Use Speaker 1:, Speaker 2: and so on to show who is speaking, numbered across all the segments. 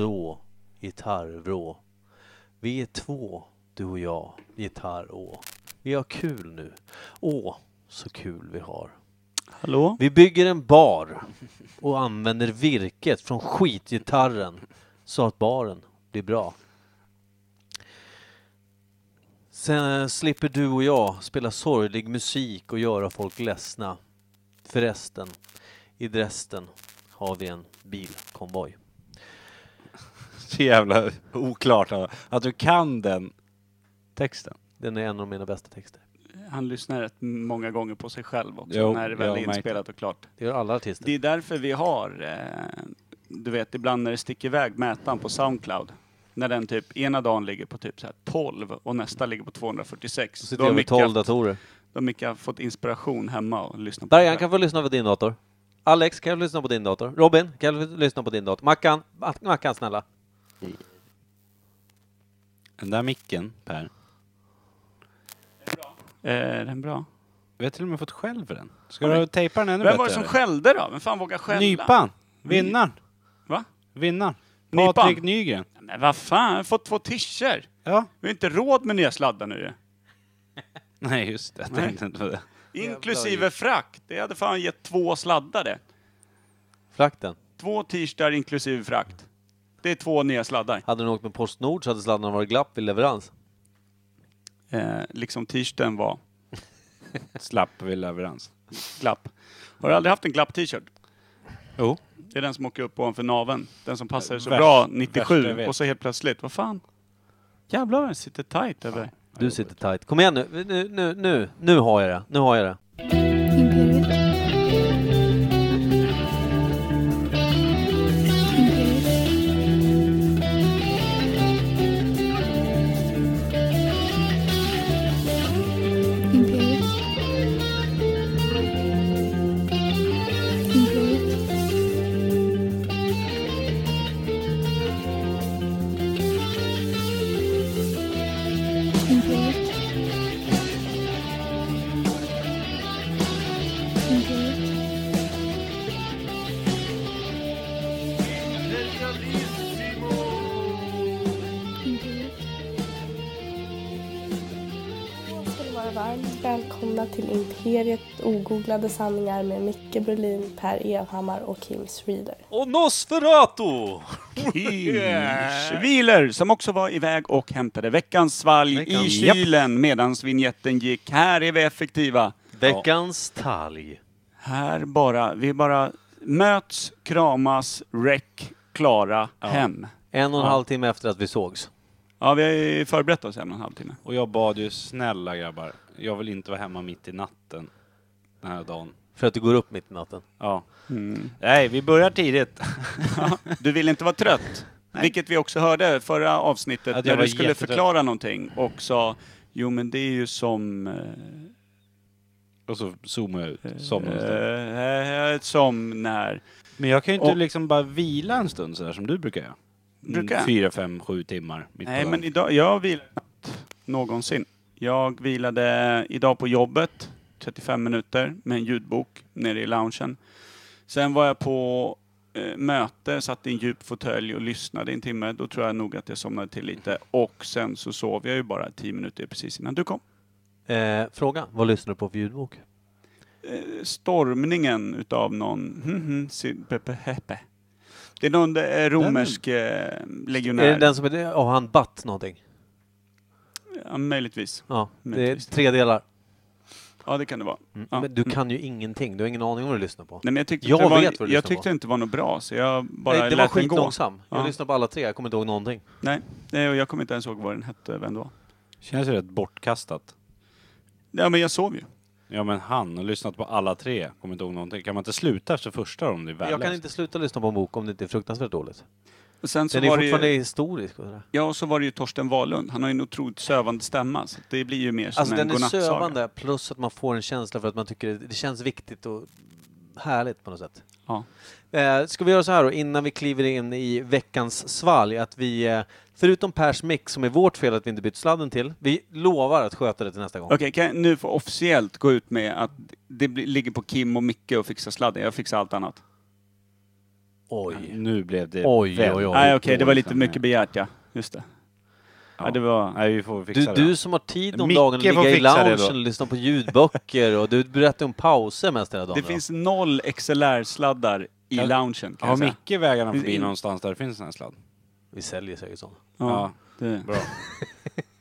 Speaker 1: vrå, gitarrvrå. Vi är två, du och jag, gitarr-å. Vi har kul nu. Åh, så kul vi har.
Speaker 2: Hallå?
Speaker 1: Vi bygger en bar och använder virket från skitgitarren så att baren blir bra. Sen eh, slipper du och jag spela sorglig musik och göra folk ledsna. Förresten, i Dresden har vi en bilkonvoj.
Speaker 2: Så jävla oklart att- att du kan den texten.
Speaker 1: Den är en av mina bästa texter.
Speaker 3: Han lyssnar rätt många gånger på sig själv också
Speaker 2: Jo,
Speaker 3: när det
Speaker 2: jag
Speaker 3: väl är
Speaker 2: märkte.
Speaker 3: inspelat och klart.
Speaker 1: Det gör alla artister.
Speaker 3: Det är därför vi har, eh, du vet ibland när det sticker iväg mätaren på Soundcloud. När den typ ena dagen ligger på typ så här 12 och nästa ligger på 246.
Speaker 1: Och
Speaker 3: Då
Speaker 1: sitter
Speaker 3: har
Speaker 1: jag med tolv
Speaker 3: Micke,
Speaker 1: datorer.
Speaker 3: då har Micke fått inspiration hemma och lyssnat på
Speaker 1: Bergan
Speaker 3: det här.
Speaker 1: kan få lyssna på din dator. Alex kan du lyssna på din dator. Robin kan du lyssna på din dator. Mackan, Ma- Mackan snälla.
Speaker 2: Den där micken, Per.
Speaker 3: Eh, Är den bra?
Speaker 2: Vi har till och med fått skäll för den. Ska
Speaker 3: Har
Speaker 2: du
Speaker 3: ni-
Speaker 2: tejpa den
Speaker 3: Vem
Speaker 2: ännu bättre?
Speaker 3: var det som
Speaker 2: eller?
Speaker 3: skällde då? Vem fan vågar skälla?
Speaker 2: Nypan! Vinnaren!
Speaker 3: Va?
Speaker 2: Vinnaren!
Speaker 3: Nypan.
Speaker 2: Patrik Nygren.
Speaker 3: Men vad fan, jag har fått två tischer.
Speaker 2: Ja.
Speaker 3: Vi har inte råd med nya sladdar nu ju.
Speaker 2: Nej, just det. Jag tänkte inte på det.
Speaker 3: Inklusive frakt. Det hade fan gett två sladdar det.
Speaker 1: Frakten.
Speaker 3: Två t-shirtar inklusive frakt. Det är två nya sladdar.
Speaker 1: Hade den åkt med Postnord så hade sladdarna varit glapp vid leverans.
Speaker 3: Eh, liksom t-shirten var
Speaker 2: Slapp vid leverans.
Speaker 3: glapp. Har du aldrig haft en glapp t-shirt?
Speaker 2: Jo.
Speaker 3: Det är den som åker upp ovanför naveln. Den som passar så
Speaker 2: Värst-
Speaker 3: bra
Speaker 2: värsta jag
Speaker 3: 97
Speaker 2: vet.
Speaker 3: och så helt plötsligt, vad fan? Jävlar vad den sitter tight över.
Speaker 1: Du sitter tight. Kom igen nu. Nu, nu, nu, nu har jag det. Nu har jag det.
Speaker 4: Imperiet. Imperiet. Imperiet. Imperiet. Imperiet. Imperiet. Imperiet.
Speaker 5: Då ska ni vara varmt välkomna till Imperiet ogooglade sanningar med Micke Berlin, Per Evhammar och Kim Reader.
Speaker 1: Och Nosferatu!
Speaker 3: Schwiler som också var iväg och hämtade veckans svalg i
Speaker 2: Veckans- Japp.
Speaker 3: kylen medan vignetten gick. Här är vi effektiva.
Speaker 1: Veckans talg.
Speaker 3: Här bara, vi bara möts, kramas, räck, klara, hem.
Speaker 1: En och en
Speaker 3: Ja.
Speaker 1: halv timme efter att vi sågs.
Speaker 3: Ja, vi har ju förberett oss en och en halv timme.
Speaker 2: Och jag bad ju, snälla grabbar, jag vill inte vara hemma mitt i natten den här dagen.
Speaker 1: För att du går upp mitt i natten.
Speaker 2: Ja. Nej, vi börjar tidigt.
Speaker 3: Du vill inte vara trött. Vilket vi också hörde förra avsnittet
Speaker 2: Att jag
Speaker 3: när
Speaker 2: var
Speaker 3: du skulle
Speaker 2: jättetrött.
Speaker 3: förklara någonting och sa Jo men det är ju som... eh,
Speaker 2: Och så zoomar jag ut, somnar en stund.
Speaker 3: Eh, eh, som när...
Speaker 2: Men jag kan ju inte
Speaker 3: och-
Speaker 2: liksom bara vila en stund sådär som du brukar göra.
Speaker 3: Brukar jag?
Speaker 2: Mm, Fyra, fem, sju timmar. Mitt
Speaker 3: Nej
Speaker 2: på
Speaker 3: men
Speaker 2: dagen.
Speaker 3: idag, jag vilar knappt någonsin. Jag vilade idag på jobbet, 35 minuter, med en ljudbok nere i loungen. Sen var jag på eh, möte, satt i en djup fåtölj och lyssnade i en timme. Då tror jag nog att jag somnade till lite. Och sen så sov jag ju bara 10 minuter precis innan du kom.
Speaker 1: Eh, fråga. Vad lyssnar du på för ljudbok?
Speaker 3: eh, stormningen utav någon... hm, hm, si- pe- pe- hepe. Det är någon eh, romersk eh, legionär.
Speaker 1: Är det den som är... Har han batt någonting?
Speaker 3: Ja, möjligtvis.
Speaker 1: Ja. Det är
Speaker 3: Möjligtvis.
Speaker 1: tre delar.
Speaker 3: Ja, det kan det vara. Ja. Mm.
Speaker 1: Men du kan ju ingenting. Du har ingen aning om vad du lyssnar på.
Speaker 3: Nej, men jag tyckte,
Speaker 1: Jag
Speaker 3: inte det var,
Speaker 1: vet vad du
Speaker 3: jag
Speaker 1: lyssnar
Speaker 3: tyckte
Speaker 1: på.
Speaker 3: inte det var något bra, så jag bara
Speaker 1: Nej, det var
Speaker 3: lät den gå.
Speaker 1: skitlångsam. Jag
Speaker 3: Ja.
Speaker 1: lyssnade på alla tre. Jag kommer inte ihåg någonting.
Speaker 3: Nej, nej, och jag kommer inte ens ihåg vad den hette, vem det var.
Speaker 2: Känns ju rätt bortkastat.
Speaker 3: Ja, men jag sov ju.
Speaker 2: Ja men han har lyssnat på alla tre, kommer inte ihåg någonting. Kan man inte sluta efter första om det är
Speaker 1: Jag
Speaker 2: värdelöst?
Speaker 1: kan inte sluta lyssna på en bok om det inte är fruktansvärt dåligt.
Speaker 3: Och sen så
Speaker 1: Den är
Speaker 3: var det
Speaker 1: fortfarande
Speaker 3: ju,
Speaker 1: historisk. Och sådär.
Speaker 3: ja, och så var det ju Torsten Wahlund. Han har ju en otroligt sövande stämma, så det blir ju mer som
Speaker 1: Alltså
Speaker 3: en
Speaker 1: den är
Speaker 3: godnattsaga.
Speaker 1: sövande plus att man får en känsla för att man tycker det, det känns viktigt och härligt på något sätt.
Speaker 3: Ja.
Speaker 1: Eh, ska vi göra så här då, innan vi kliver in i veckans svalg, att vi, eh, förutom Pers mick som är vårt fel att vi inte bytt sladden till, vi lovar att sköta det till nästa gång.
Speaker 3: Okej, kan jag nu få officiellt gå ut med att det blir- ligger på Kim och Micke att fixa sladden? Jag fixar allt annat.
Speaker 1: Oj.
Speaker 2: Nu blev det
Speaker 1: Oj,
Speaker 2: väldigt
Speaker 1: oj, oj.
Speaker 3: Nej, okej, det var lite
Speaker 2: dåligt.
Speaker 3: mycket begärt ja. Just det. Ja,
Speaker 2: Ja.
Speaker 3: det var...
Speaker 2: Nej, vi får fixa
Speaker 1: Du,
Speaker 2: det.
Speaker 1: du som har tid om
Speaker 2: Micke
Speaker 1: dagen att
Speaker 2: får
Speaker 1: ligga i
Speaker 2: fixa det då.
Speaker 1: loungen och lyssna på ljudböcker och du berättar om pauser mest hela dagen.
Speaker 3: Det
Speaker 1: va?
Speaker 3: finns noll XLR-sladdar i
Speaker 2: Ja.
Speaker 3: loungen kan
Speaker 2: Har
Speaker 3: jag säga.
Speaker 2: Micke vägarna
Speaker 3: Finns
Speaker 2: förbi
Speaker 3: in-
Speaker 2: någonstans där det finns en sån här sladd?
Speaker 1: Vi säljer säkert sådana.
Speaker 3: Ja, det.
Speaker 2: Bra.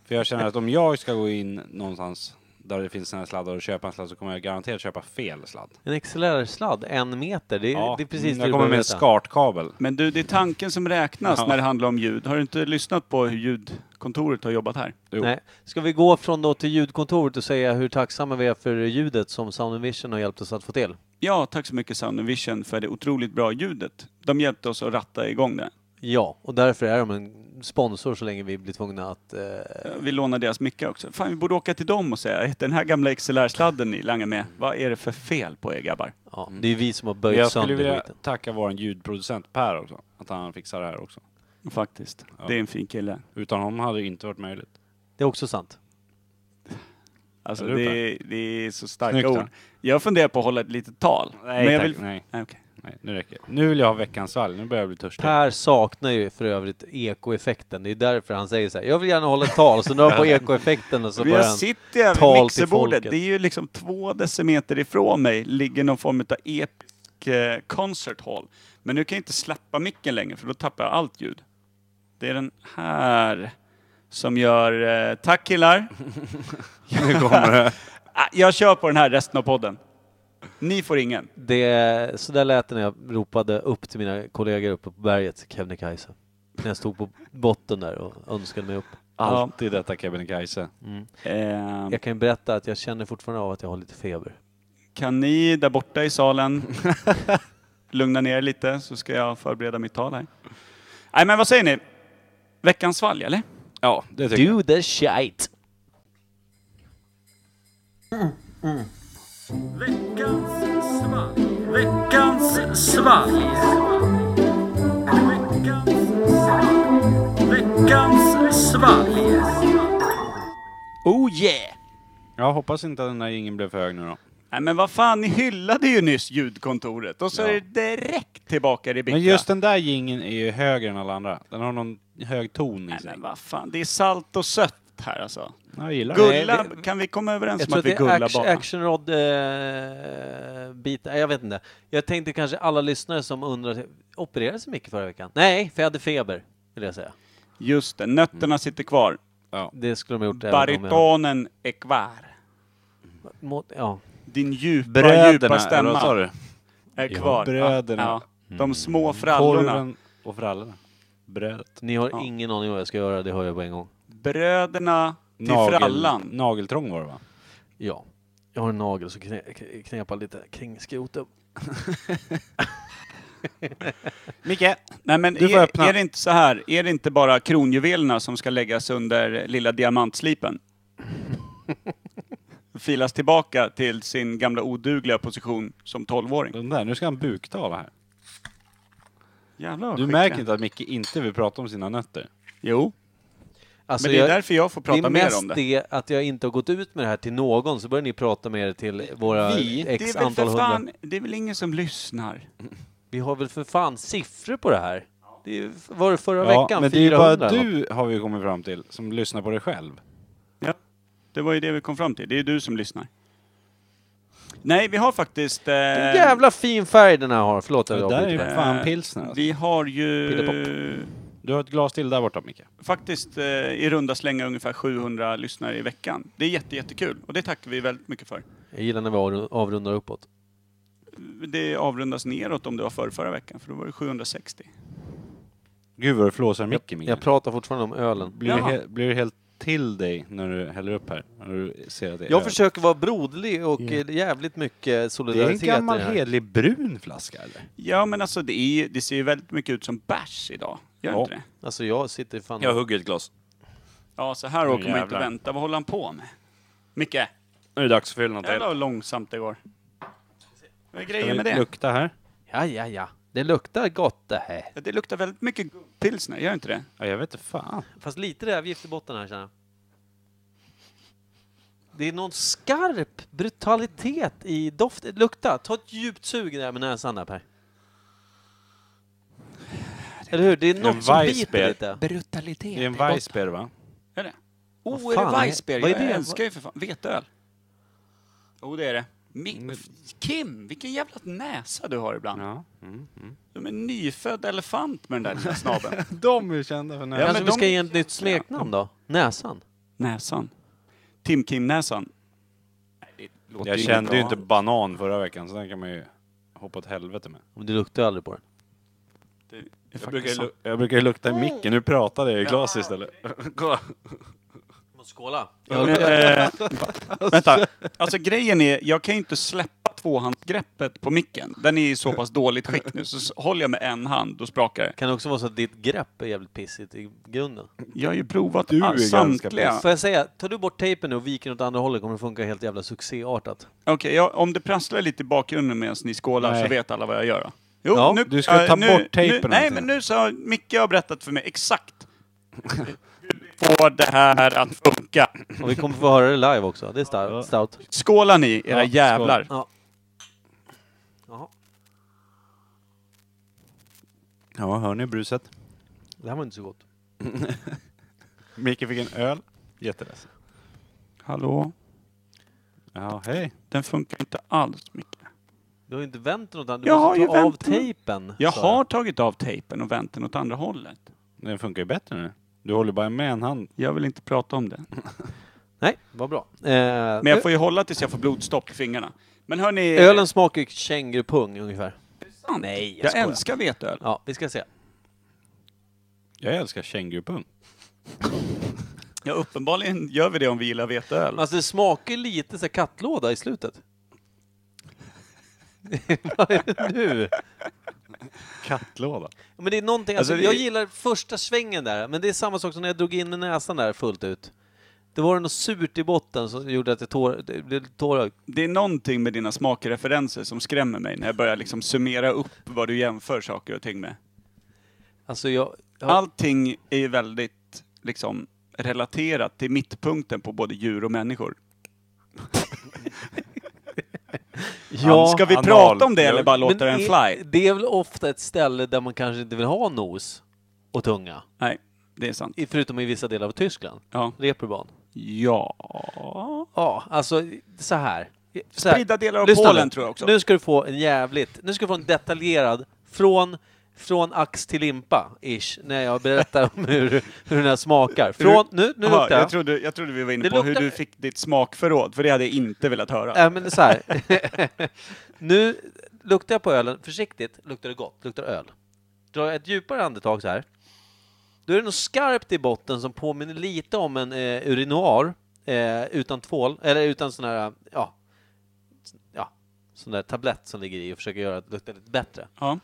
Speaker 2: För jag känner att om jag ska gå in någonstans där det finns såna här sladdar och köpa en sladd så kommer jag garanterat köpa fel sladd.
Speaker 1: En XLR-sladd, en meter, det, är- det är precis det
Speaker 2: jag
Speaker 1: du
Speaker 2: kommer
Speaker 1: behöver
Speaker 2: med en
Speaker 1: veta.
Speaker 2: skartkabel.
Speaker 3: Men du, det är tanken som räknas
Speaker 2: Ja.
Speaker 3: när det handlar om ljud. Har du inte lyssnat på hur ljudkontoret har jobbat här?
Speaker 2: Jo.
Speaker 1: Nej. Ska vi gå från då till ljudkontoret och säga hur tacksamma vi är för ljudet som Sound Vision har hjälpt oss att få till?
Speaker 3: Ja, tack så mycket Sound Vision för det otroligt bra ljudet. De hjälpte oss att ratta igång det.
Speaker 1: Ja, och därför är de en sponsor så länge vi blir tvungna att... Eh,
Speaker 3: Vi lånar deras mickar också. Fan, vi borde åka till dem och säga att den här gamla XLR-sladden ni langar med, vad är det för fel på er grabbar?
Speaker 1: ja, Det är vi som har
Speaker 2: Men
Speaker 1: böjt
Speaker 2: Mm. Jag skulle
Speaker 1: sönder
Speaker 2: vilja
Speaker 1: skiten.
Speaker 2: tacka vår ljudproducent Per också, att han fixar det här också.
Speaker 3: Faktiskt.
Speaker 2: Ja.
Speaker 3: Det är en fin kille.
Speaker 2: Utan honom hade det inte varit möjligt.
Speaker 1: Det är också sant.
Speaker 3: Alltså,
Speaker 2: Eller hur,
Speaker 3: det, är, det är så starka
Speaker 2: Snyggt,
Speaker 3: ord.
Speaker 2: va?
Speaker 3: Jag funderar på att hålla ett litet tal. men jag
Speaker 2: tack.
Speaker 3: vill...
Speaker 2: nej,
Speaker 3: Nej, okej.
Speaker 2: nej, nu räcker det. Nu vill jag ha veckans svalg, nu börjar jag bli törstig.
Speaker 1: Per saknar ju för övrigt ekoeffekten. Det är därför han säger så här. Jag vill gärna hålla ett tal, så nu har han på ekoeffekten och så
Speaker 3: Men jag
Speaker 1: börjar han...
Speaker 3: sitter ju här vid
Speaker 1: tal
Speaker 3: mixerbordet.
Speaker 1: till folket.
Speaker 3: Det är ju liksom två decimeter ifrån mig ligger någon form av epic eh, concert hall. Men nu kan jag inte släppa micken längre för då tappar jag allt ljud. Det är den här som gör... Eh, tack killar!
Speaker 2: Nu kommer det.
Speaker 3: Ah, Jag kör på den här resten av podden. Ni får ingen.
Speaker 1: Det, så där lät det när jag ropade upp till mina kollegor uppe på berget, Kebnekaise. När jag stod på botten där och önskade mig upp.
Speaker 2: Alltid detta Kebnekaise.
Speaker 3: Eh,
Speaker 1: Jag kan ju berätta att jag känner fortfarande av att jag har lite feber.
Speaker 3: kan ni där borta i salen lugna ner er lite så ska jag förbereda mitt tal här. Nej men vad säger ni? Veckans svalg eller?
Speaker 2: Ja, det tycker jag.
Speaker 1: Do the shite!
Speaker 3: Oh,
Speaker 2: Jag hoppas inte att den här ingen blev för hög nu då.
Speaker 3: Nej men vad fan, ni hyllade ju nyss ljudkontoret och så
Speaker 2: Ja.
Speaker 3: är det direkt tillbaka i Rebecka.
Speaker 2: Men just den där gingen är ju högre än alla andra. Den har någon hög ton i
Speaker 3: Nej
Speaker 2: sig.
Speaker 3: men vad fan, det är salt och sött här alltså.
Speaker 2: Jag gillar den.
Speaker 3: Gulla,
Speaker 1: vi-
Speaker 3: kan vi komma överens
Speaker 1: Jag
Speaker 3: om
Speaker 1: tror
Speaker 3: att
Speaker 1: att
Speaker 3: vi
Speaker 1: det är
Speaker 3: gullar
Speaker 1: action,
Speaker 3: bara?
Speaker 1: action rod eh, bit. Nej, Jag vet inte. Jag tänkte kanske alla lyssnare som undrar, opererades så mycket förra veckan? Nej, för jag hade feber, vill jag säga.
Speaker 3: Just det, nötterna
Speaker 2: Mm.
Speaker 3: sitter kvar.
Speaker 1: Det skulle de ha gjort även om jag...
Speaker 3: Baritonen är kvar.
Speaker 1: Må, ja.
Speaker 3: Din djupa,
Speaker 2: Bröderna,
Speaker 3: djupa
Speaker 2: eller vad sa
Speaker 3: stämma
Speaker 2: du?
Speaker 3: är kvar.
Speaker 2: bröderna. Mm.
Speaker 3: Ja, ja. De små frallorna.
Speaker 2: Korven och frallorna. Brödet.
Speaker 1: Ni har
Speaker 3: Ja.
Speaker 1: ingen aning vad jag ska göra, det hör jag på en gång.
Speaker 3: Bröderna till frallan.
Speaker 2: Nageltrång var det va?
Speaker 1: Ja. Jag har en nagel som kne, kne- knepar lite kring skrotum.
Speaker 2: Micke!
Speaker 3: Nej men
Speaker 2: Du får
Speaker 3: är,
Speaker 2: öppna.
Speaker 3: är det inte så här, är det inte bara kronjuvelerna som ska läggas under lilla diamantslipen? Filas tillbaka till sin gamla odugliga position som 12-åring.
Speaker 2: Den där, nu ska han buktala här.
Speaker 3: Jävlar vad
Speaker 2: Du
Speaker 3: skicklig.
Speaker 2: märker inte att Micke inte vill prata om sina nötter?
Speaker 3: Jo,
Speaker 1: Alltså,
Speaker 3: men det är
Speaker 1: jag-
Speaker 3: därför jag får
Speaker 1: det är
Speaker 3: prata mer
Speaker 1: mest
Speaker 3: om det.
Speaker 1: det att jag inte har gått ut med det här till någon, så börjar ni prata med er till våra
Speaker 2: Vi?
Speaker 1: x
Speaker 3: Det är väl
Speaker 1: antal
Speaker 3: för
Speaker 1: hundra.
Speaker 3: fan, det är väl ingen som lyssnar?
Speaker 1: Vi har väl för fan siffror på det här? Det är- var det förra veckan?
Speaker 2: men det är ju bara
Speaker 1: 400 eller
Speaker 2: du, har vi kommit fram till, som lyssnar på dig själv.
Speaker 3: Ja, det var ju det vi kom fram till. Det är du som lyssnar. Nej, vi har faktiskt... Eh,
Speaker 1: Vilken jävla fin färg den här har, förlåt att
Speaker 2: Det
Speaker 1: jag
Speaker 2: där är ju
Speaker 1: avbryter. dig.
Speaker 2: fan pilsner alltså.
Speaker 3: Vi har ju...
Speaker 2: Du har ett glas till där borta Micke.
Speaker 3: faktiskt eh, i runda slänga ungefär 700 lyssnare i veckan. Det är jätte, jättekul och det tackar vi väldigt mycket för.
Speaker 1: Jag gillar när vi avru- avrundar uppåt.
Speaker 3: Det avrundas neråt om det var förra, förra veckan, för då var det 760.
Speaker 2: Gud vad du flåsar Micke Micke.
Speaker 1: Jag pratar fortfarande om ölen.
Speaker 2: Blir, du
Speaker 3: Jaha.
Speaker 2: he- blir du helt till dig när du häller upp här? När du ser att det är
Speaker 1: Jag
Speaker 2: öl?
Speaker 1: försöker vara broderlig och eh, jävligt mycket
Speaker 2: Det är en
Speaker 1: solidaritet
Speaker 2: gammal
Speaker 1: i det här.
Speaker 2: hedlig brun flaska eller?
Speaker 3: Ja, men alltså det, är, det ser ju väldigt mycket ut som bärs idag. Gör
Speaker 2: Ja.
Speaker 3: inte det?
Speaker 1: Alltså jag sitter fan...
Speaker 2: hugger ett glas.
Speaker 3: Ja, så här åker man inte
Speaker 2: jävlar.
Speaker 3: vänta. Vad håller han på med? Micke,
Speaker 2: Nu är det dags att fylla något
Speaker 3: jävlar vad långsamt det går. Vad är grejen med
Speaker 2: Ska vi
Speaker 3: det?
Speaker 2: lukta här?
Speaker 1: Ja, ja, ja. Det luktar gott det här.
Speaker 3: Ja, Det luktar väldigt mycket pilsner, gör inte det?
Speaker 2: Ja, jag vet inte fan.
Speaker 1: Fast lite rävgift i botten här känner jag. Det är någon skarp brutalitet i doften. Lukta, ta ett djupt sug där med näsan där Per. Eller hur? Det är
Speaker 2: En
Speaker 1: något som
Speaker 2: Weissbier.
Speaker 1: biter lite.
Speaker 6: Brutalitet.
Speaker 2: Det är en
Speaker 6: gott.
Speaker 2: Weissbier va?
Speaker 3: Är det?
Speaker 1: Vad
Speaker 3: Oh, är
Speaker 1: fan
Speaker 3: det
Speaker 1: är-
Speaker 3: Weissbier?
Speaker 1: vad är
Speaker 3: Jag
Speaker 1: det?
Speaker 3: älskar ju för fan veteöl. Jo, det är det. Mi- Kim, vilken jävla näsa du har ibland.
Speaker 2: Ja. Mm, mm.
Speaker 3: Som en nyfödd elefant med den där lilla snabeln.
Speaker 2: De är kända för
Speaker 3: Ja,
Speaker 2: nära.
Speaker 1: Kanske
Speaker 3: men
Speaker 1: vi
Speaker 3: de-
Speaker 1: Alltså, ska ge ett nytt smeknamn då? Näsan?
Speaker 3: Näsan. Tim Kim-näsan.
Speaker 2: Jag kände ju inte banan förra veckan så den kan man ju hoppa åt helvete med.
Speaker 1: Om det luktar aldrig på den.
Speaker 2: Jag brukar, ju lu- jag brukar ju lukta i micken, nu pratade jag i glas istället.
Speaker 1: Skåla!
Speaker 3: Eh, vänta. Alltså grejen är, jag kan ju inte släppa tvåhandsgreppet på micken. Den är i så pass dåligt skick nu, så s- håller jag med en hand, då sprakar det.
Speaker 1: Kan det också vara så att ditt grepp är jävligt pissigt i grunden?
Speaker 3: Jag har ju provat
Speaker 2: Du är
Speaker 3: all-
Speaker 2: ganska
Speaker 3: samtliga.
Speaker 1: Får jag säga, tar du bort tejpen nu och viker den åt andra hållet kommer det funka helt jävla succéartat.
Speaker 3: Okej, jag- om det prasslar lite i bakgrunden medan ni skålar
Speaker 2: Nej.
Speaker 3: så vet alla vad jag gör. då. Jo,
Speaker 2: Ja, du ska
Speaker 3: eh,
Speaker 2: ta
Speaker 3: nu,
Speaker 2: bort tejpen
Speaker 3: Nu, nej,
Speaker 2: alltså.
Speaker 3: men nu så har Micke har berättat för mig exakt hur vi får det här att funka.
Speaker 1: Och vi kommer få höra det live också. Det är star- stout.
Speaker 3: Skålar ni, era
Speaker 2: Ja,
Speaker 3: jävlar.
Speaker 1: Ja. Jaha.
Speaker 2: Ja, hör ni bruset?
Speaker 1: Det här var inte så gott.
Speaker 2: Micke fick en öl. Jätteledsen.
Speaker 3: Hallå?
Speaker 2: Ja, hej.
Speaker 3: Den funkar inte alls, Micke.
Speaker 1: Du har ju inte vänt något annat. Du
Speaker 3: Jag har
Speaker 1: måste
Speaker 3: ju
Speaker 1: ta av
Speaker 3: vänt den.
Speaker 1: tejpen.
Speaker 3: Jag
Speaker 1: sa
Speaker 3: har tagit av tejpen och vänt den åt andra hållet.
Speaker 2: Den funkar ju bättre nu. Du håller bara med en hand.
Speaker 3: Jag vill inte prata om det.
Speaker 1: Nej, vad bra. Eh,
Speaker 3: Men jag får ju hålla tills jag får blodstopp i fingrarna. Men hörni...
Speaker 1: Ölen smakar ju kängurupung ungefär.
Speaker 3: Nej,
Speaker 1: jag
Speaker 3: jag,
Speaker 1: skojar.
Speaker 3: älskar veteöl.
Speaker 1: Ja, vi ska se.
Speaker 2: Jag älskar kängurupung.
Speaker 3: Ja, uppenbarligen gör vi det om vi gillar veteöl.
Speaker 1: Alltså det smakar ju lite så här kattlåda i slutet. Vad är det nu?
Speaker 2: Kattlåda.
Speaker 1: Men det är någonting, alltså,
Speaker 3: Alltså, det-
Speaker 1: jag gillar första svängen där, men det är samma sak som när jag drog in med näsan där fullt ut. Det var något surt i botten som gjorde att jag tår, det blev tårögd.
Speaker 3: Det är någonting med dina smakreferenser som skrämmer mig när jag börjar liksom summera upp vad du jämför saker och ting med.
Speaker 1: Alltså jag... jag
Speaker 3: Allting är ju väldigt liksom relaterat till mittpunkten på både djur och människor.
Speaker 1: ja,
Speaker 3: Ska vi
Speaker 2: anal-
Speaker 3: prata om det eller bara låta
Speaker 1: men
Speaker 3: den
Speaker 1: är-
Speaker 3: fly?
Speaker 1: Det är väl ofta ett ställe där man kanske inte vill ha nos och tunga.
Speaker 3: Nej, det är sant.
Speaker 1: I- Förutom i vissa delar av Tyskland.
Speaker 3: Ja.
Speaker 1: Reeperbahn.
Speaker 3: Ja.
Speaker 1: Ja, alltså så här. Så här.
Speaker 3: Spridda delar av
Speaker 1: Lyssna
Speaker 3: Polen
Speaker 1: nu.
Speaker 3: tror jag också.
Speaker 1: Nu ska du få en jävligt, nu ska du få en detaljerad från från ax till limpa, ish, när jag berättar om hur, hur den här smakar. Från, nu, nu
Speaker 3: Aha,
Speaker 1: luktar
Speaker 3: jag,
Speaker 1: jag.
Speaker 3: trodde, jag trodde vi var inne
Speaker 1: Det
Speaker 3: på hur
Speaker 1: luktar-
Speaker 3: du fick ditt smakförråd, för det hade jag inte velat höra.
Speaker 1: Äh, men det är så här. nu luktar jag på ölen, försiktigt luktar det gott, luktar öl. Dra ett djupare andetag så här. Då är det något skarpt i botten som påminner lite om en eh, urinoir eh, utan tvål, eller utan sån här, ja, ja, sån där tablett som ligger i och försöker göra att det luktar lite bättre.
Speaker 3: Ja.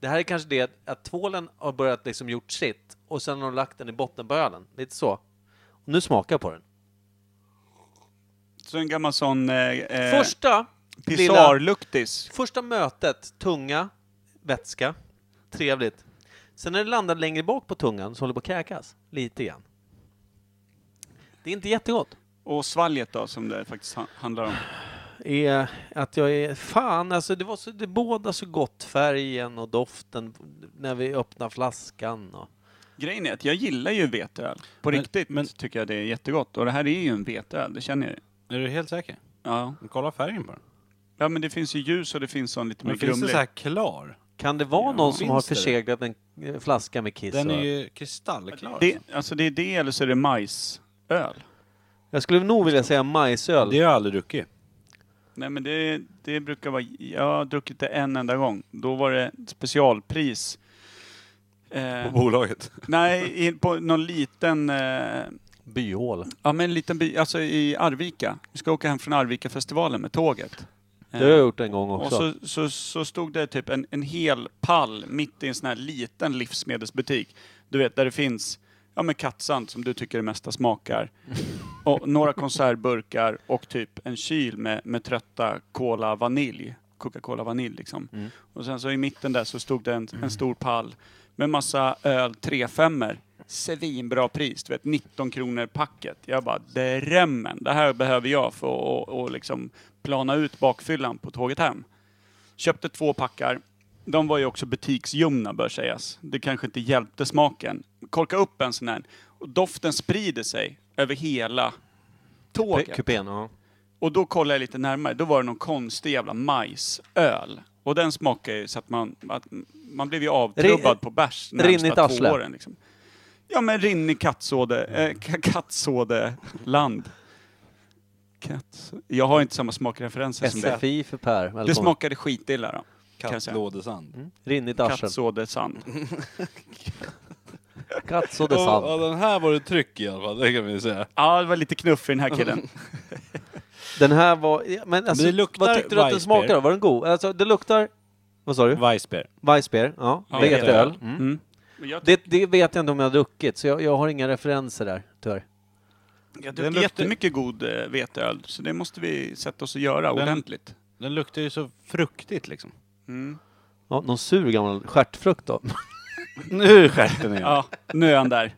Speaker 1: Det här är kanske det att tvålen har börjat liksom gjort sitt och sen har de lagt den i botten på ölen. Lite så. Och nu smakar jag på den.
Speaker 3: Så en gammal sån eh, eh,
Speaker 1: Första lilla-
Speaker 3: pisarluktis.
Speaker 1: Första mötet, tunga, vätska, trevligt. Sen när det landar längre bak på tungan så håller det på att kräkas lite grann. Det är inte jättegott.
Speaker 3: Och svalget då, som det faktiskt ha- handlar om.
Speaker 1: Är att jag är... Fan, alltså det var så, det båda så gott färgen och doften när vi öppnar flaskan och...
Speaker 3: Grejen är att jag gillar ju veteöl. På
Speaker 2: Men-
Speaker 3: riktigt
Speaker 2: men-
Speaker 3: tycker jag det är jättegott. Och det här är ju en veteöl, det känner jag ju.
Speaker 2: Är du helt säker?
Speaker 3: Ja.
Speaker 2: Kolla färgen på den.
Speaker 3: ja, men det finns ju ljus och det finns sån lite mer
Speaker 2: Men finns det
Speaker 3: grumlig.
Speaker 2: så här klar?
Speaker 1: Kan det vara
Speaker 3: Ja,
Speaker 1: någon som
Speaker 2: finns
Speaker 1: har
Speaker 2: det det?
Speaker 1: förseglat en eh, flaska med kiss?
Speaker 2: Den
Speaker 1: och-
Speaker 2: är ju kristallklar.
Speaker 3: det, alltså det är det eller så är det majsöl.
Speaker 1: Jag skulle nog vilja säga majsöl.
Speaker 2: Det har jag aldrig druckit.
Speaker 3: Nej men det, det brukar vara, jag har druckit det en enda gång. Då var det specialpris.
Speaker 2: På
Speaker 3: Eh,
Speaker 2: bolaget.
Speaker 3: nej, i, på någon liten eh,
Speaker 1: Byhål.
Speaker 3: Ja, men en liten by, alltså i Arvika. Vi ska åka hem från Arvika-festivalen med tåget.
Speaker 1: Det har jag gjort en gång
Speaker 3: och
Speaker 1: också.
Speaker 3: så, så, så stod det typ en, en hel pall mitt i en sån här liten livsmedelsbutik. Du vet, där det finns ja, men kattsand som du tycker det mesta smakar. Och några konservburkar och typ en kyl med, med trötta Cola Vanilj. Coca-Cola Vanilj liksom.
Speaker 1: Mm.
Speaker 3: Och sen så i mitten där så stod det en, en stor pall med massa öl 3-5 Svinbra pris, du vet 19 kronor packet. Jag bara, drämmen, det här behöver jag för att och, och liksom plana ut bakfyllan på tåget hem. Köpte två packar, De var ju också butiksljumna bör sägas. Det kanske inte hjälpte smaken. Korka upp en sån här och doften sprider sig över hela tåget.
Speaker 1: Kupén, ja.
Speaker 3: Och då kollade jag lite närmare, då var det någon konstig jävla majsöl. Och den smakade ju så att man, att man blev ju avtrubbad
Speaker 1: Ri-
Speaker 3: på bärs
Speaker 1: rinnigt
Speaker 3: närmsta två
Speaker 1: arsle.
Speaker 3: åren. Liksom. Ja men rinnig kattsåde, eh, k- kattsådeland. Katts... Jag har inte samma smakreferenser som det.
Speaker 1: SFI för Per. Välkommen.
Speaker 3: Det smakade skitilla då. kan jag säga.
Speaker 2: Kattlådesand.
Speaker 1: Mm. Rinnigt arsel.
Speaker 3: Kattsådesand.
Speaker 1: Kattsådde
Speaker 2: Ja,
Speaker 1: sand.
Speaker 2: den här var det tryck i alla fall, det kan vi säga.
Speaker 3: Ja, det var lite knuff i den här killen.
Speaker 1: Den här var... ja, Men alltså,
Speaker 2: Men det luktar
Speaker 1: vad tyckte du att den
Speaker 2: Weissbier.
Speaker 1: smakade då? Var den god? Alltså, det luktar... Vad sa du?
Speaker 2: Weissbier.
Speaker 1: Weissbier? Ja.
Speaker 2: Ja,
Speaker 1: Vetöl.
Speaker 2: vetöl.
Speaker 1: Mm.
Speaker 3: Mm. Men jag,
Speaker 1: Det, det vet jag inte om jag har druckit, så jag, jag har inga referenser där, tyvärr.
Speaker 3: jag
Speaker 2: den
Speaker 3: druckit
Speaker 2: luktar-
Speaker 3: jättemycket god eh, veteöl, så det måste vi sätta oss och göra
Speaker 2: Den-
Speaker 3: ordentligt.
Speaker 2: Den luktar ju så fruktigt liksom.
Speaker 3: Mm.
Speaker 1: Ja, någon sur gammal stjärtfrukt då?
Speaker 2: Nu skärpte ni
Speaker 3: Ja, nu är han där.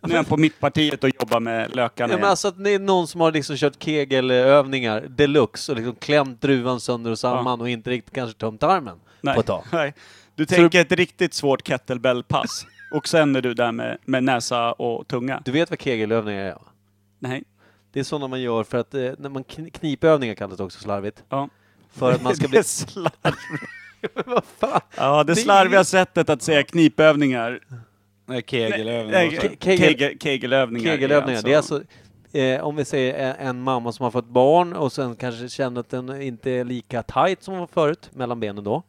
Speaker 3: Nu är han på mittpartiet och jobbar med lökarna
Speaker 1: Ja, men
Speaker 3: igen.
Speaker 1: alltså att det är någon som har liksom kört kegelövningar deluxe och liksom klämt druvan sönder och samman och inte riktigt kanske tömt armen
Speaker 3: Nej.
Speaker 1: på ett tag.
Speaker 3: Nej. Du tänker ett riktigt svårt kettlebell-pass. Och sen är du där med, med näsa och tunga.
Speaker 1: Du vet vad kegelövningar är? va?
Speaker 3: Nej.
Speaker 1: Det är sådana man gör för att, eh, när man kn- knipövningar kallas det också slarvigt.
Speaker 3: Ja.
Speaker 1: För att man ska
Speaker 3: Det
Speaker 1: bli...
Speaker 3: är slarv...
Speaker 1: Vad fan?
Speaker 3: Ja, det slarviga sättet att säga knipövningar.
Speaker 2: Nej, kegelövningar.
Speaker 3: Nej,
Speaker 2: och
Speaker 1: Ke-
Speaker 2: sånt.
Speaker 1: kegel-
Speaker 3: Kegel, kegelövningar. är
Speaker 1: Kegelövningar, det är alltså eh, om vi säger en, en mamma som har fått barn och sen kanske känner att den inte är lika tight som hon var förut, mellan benen då.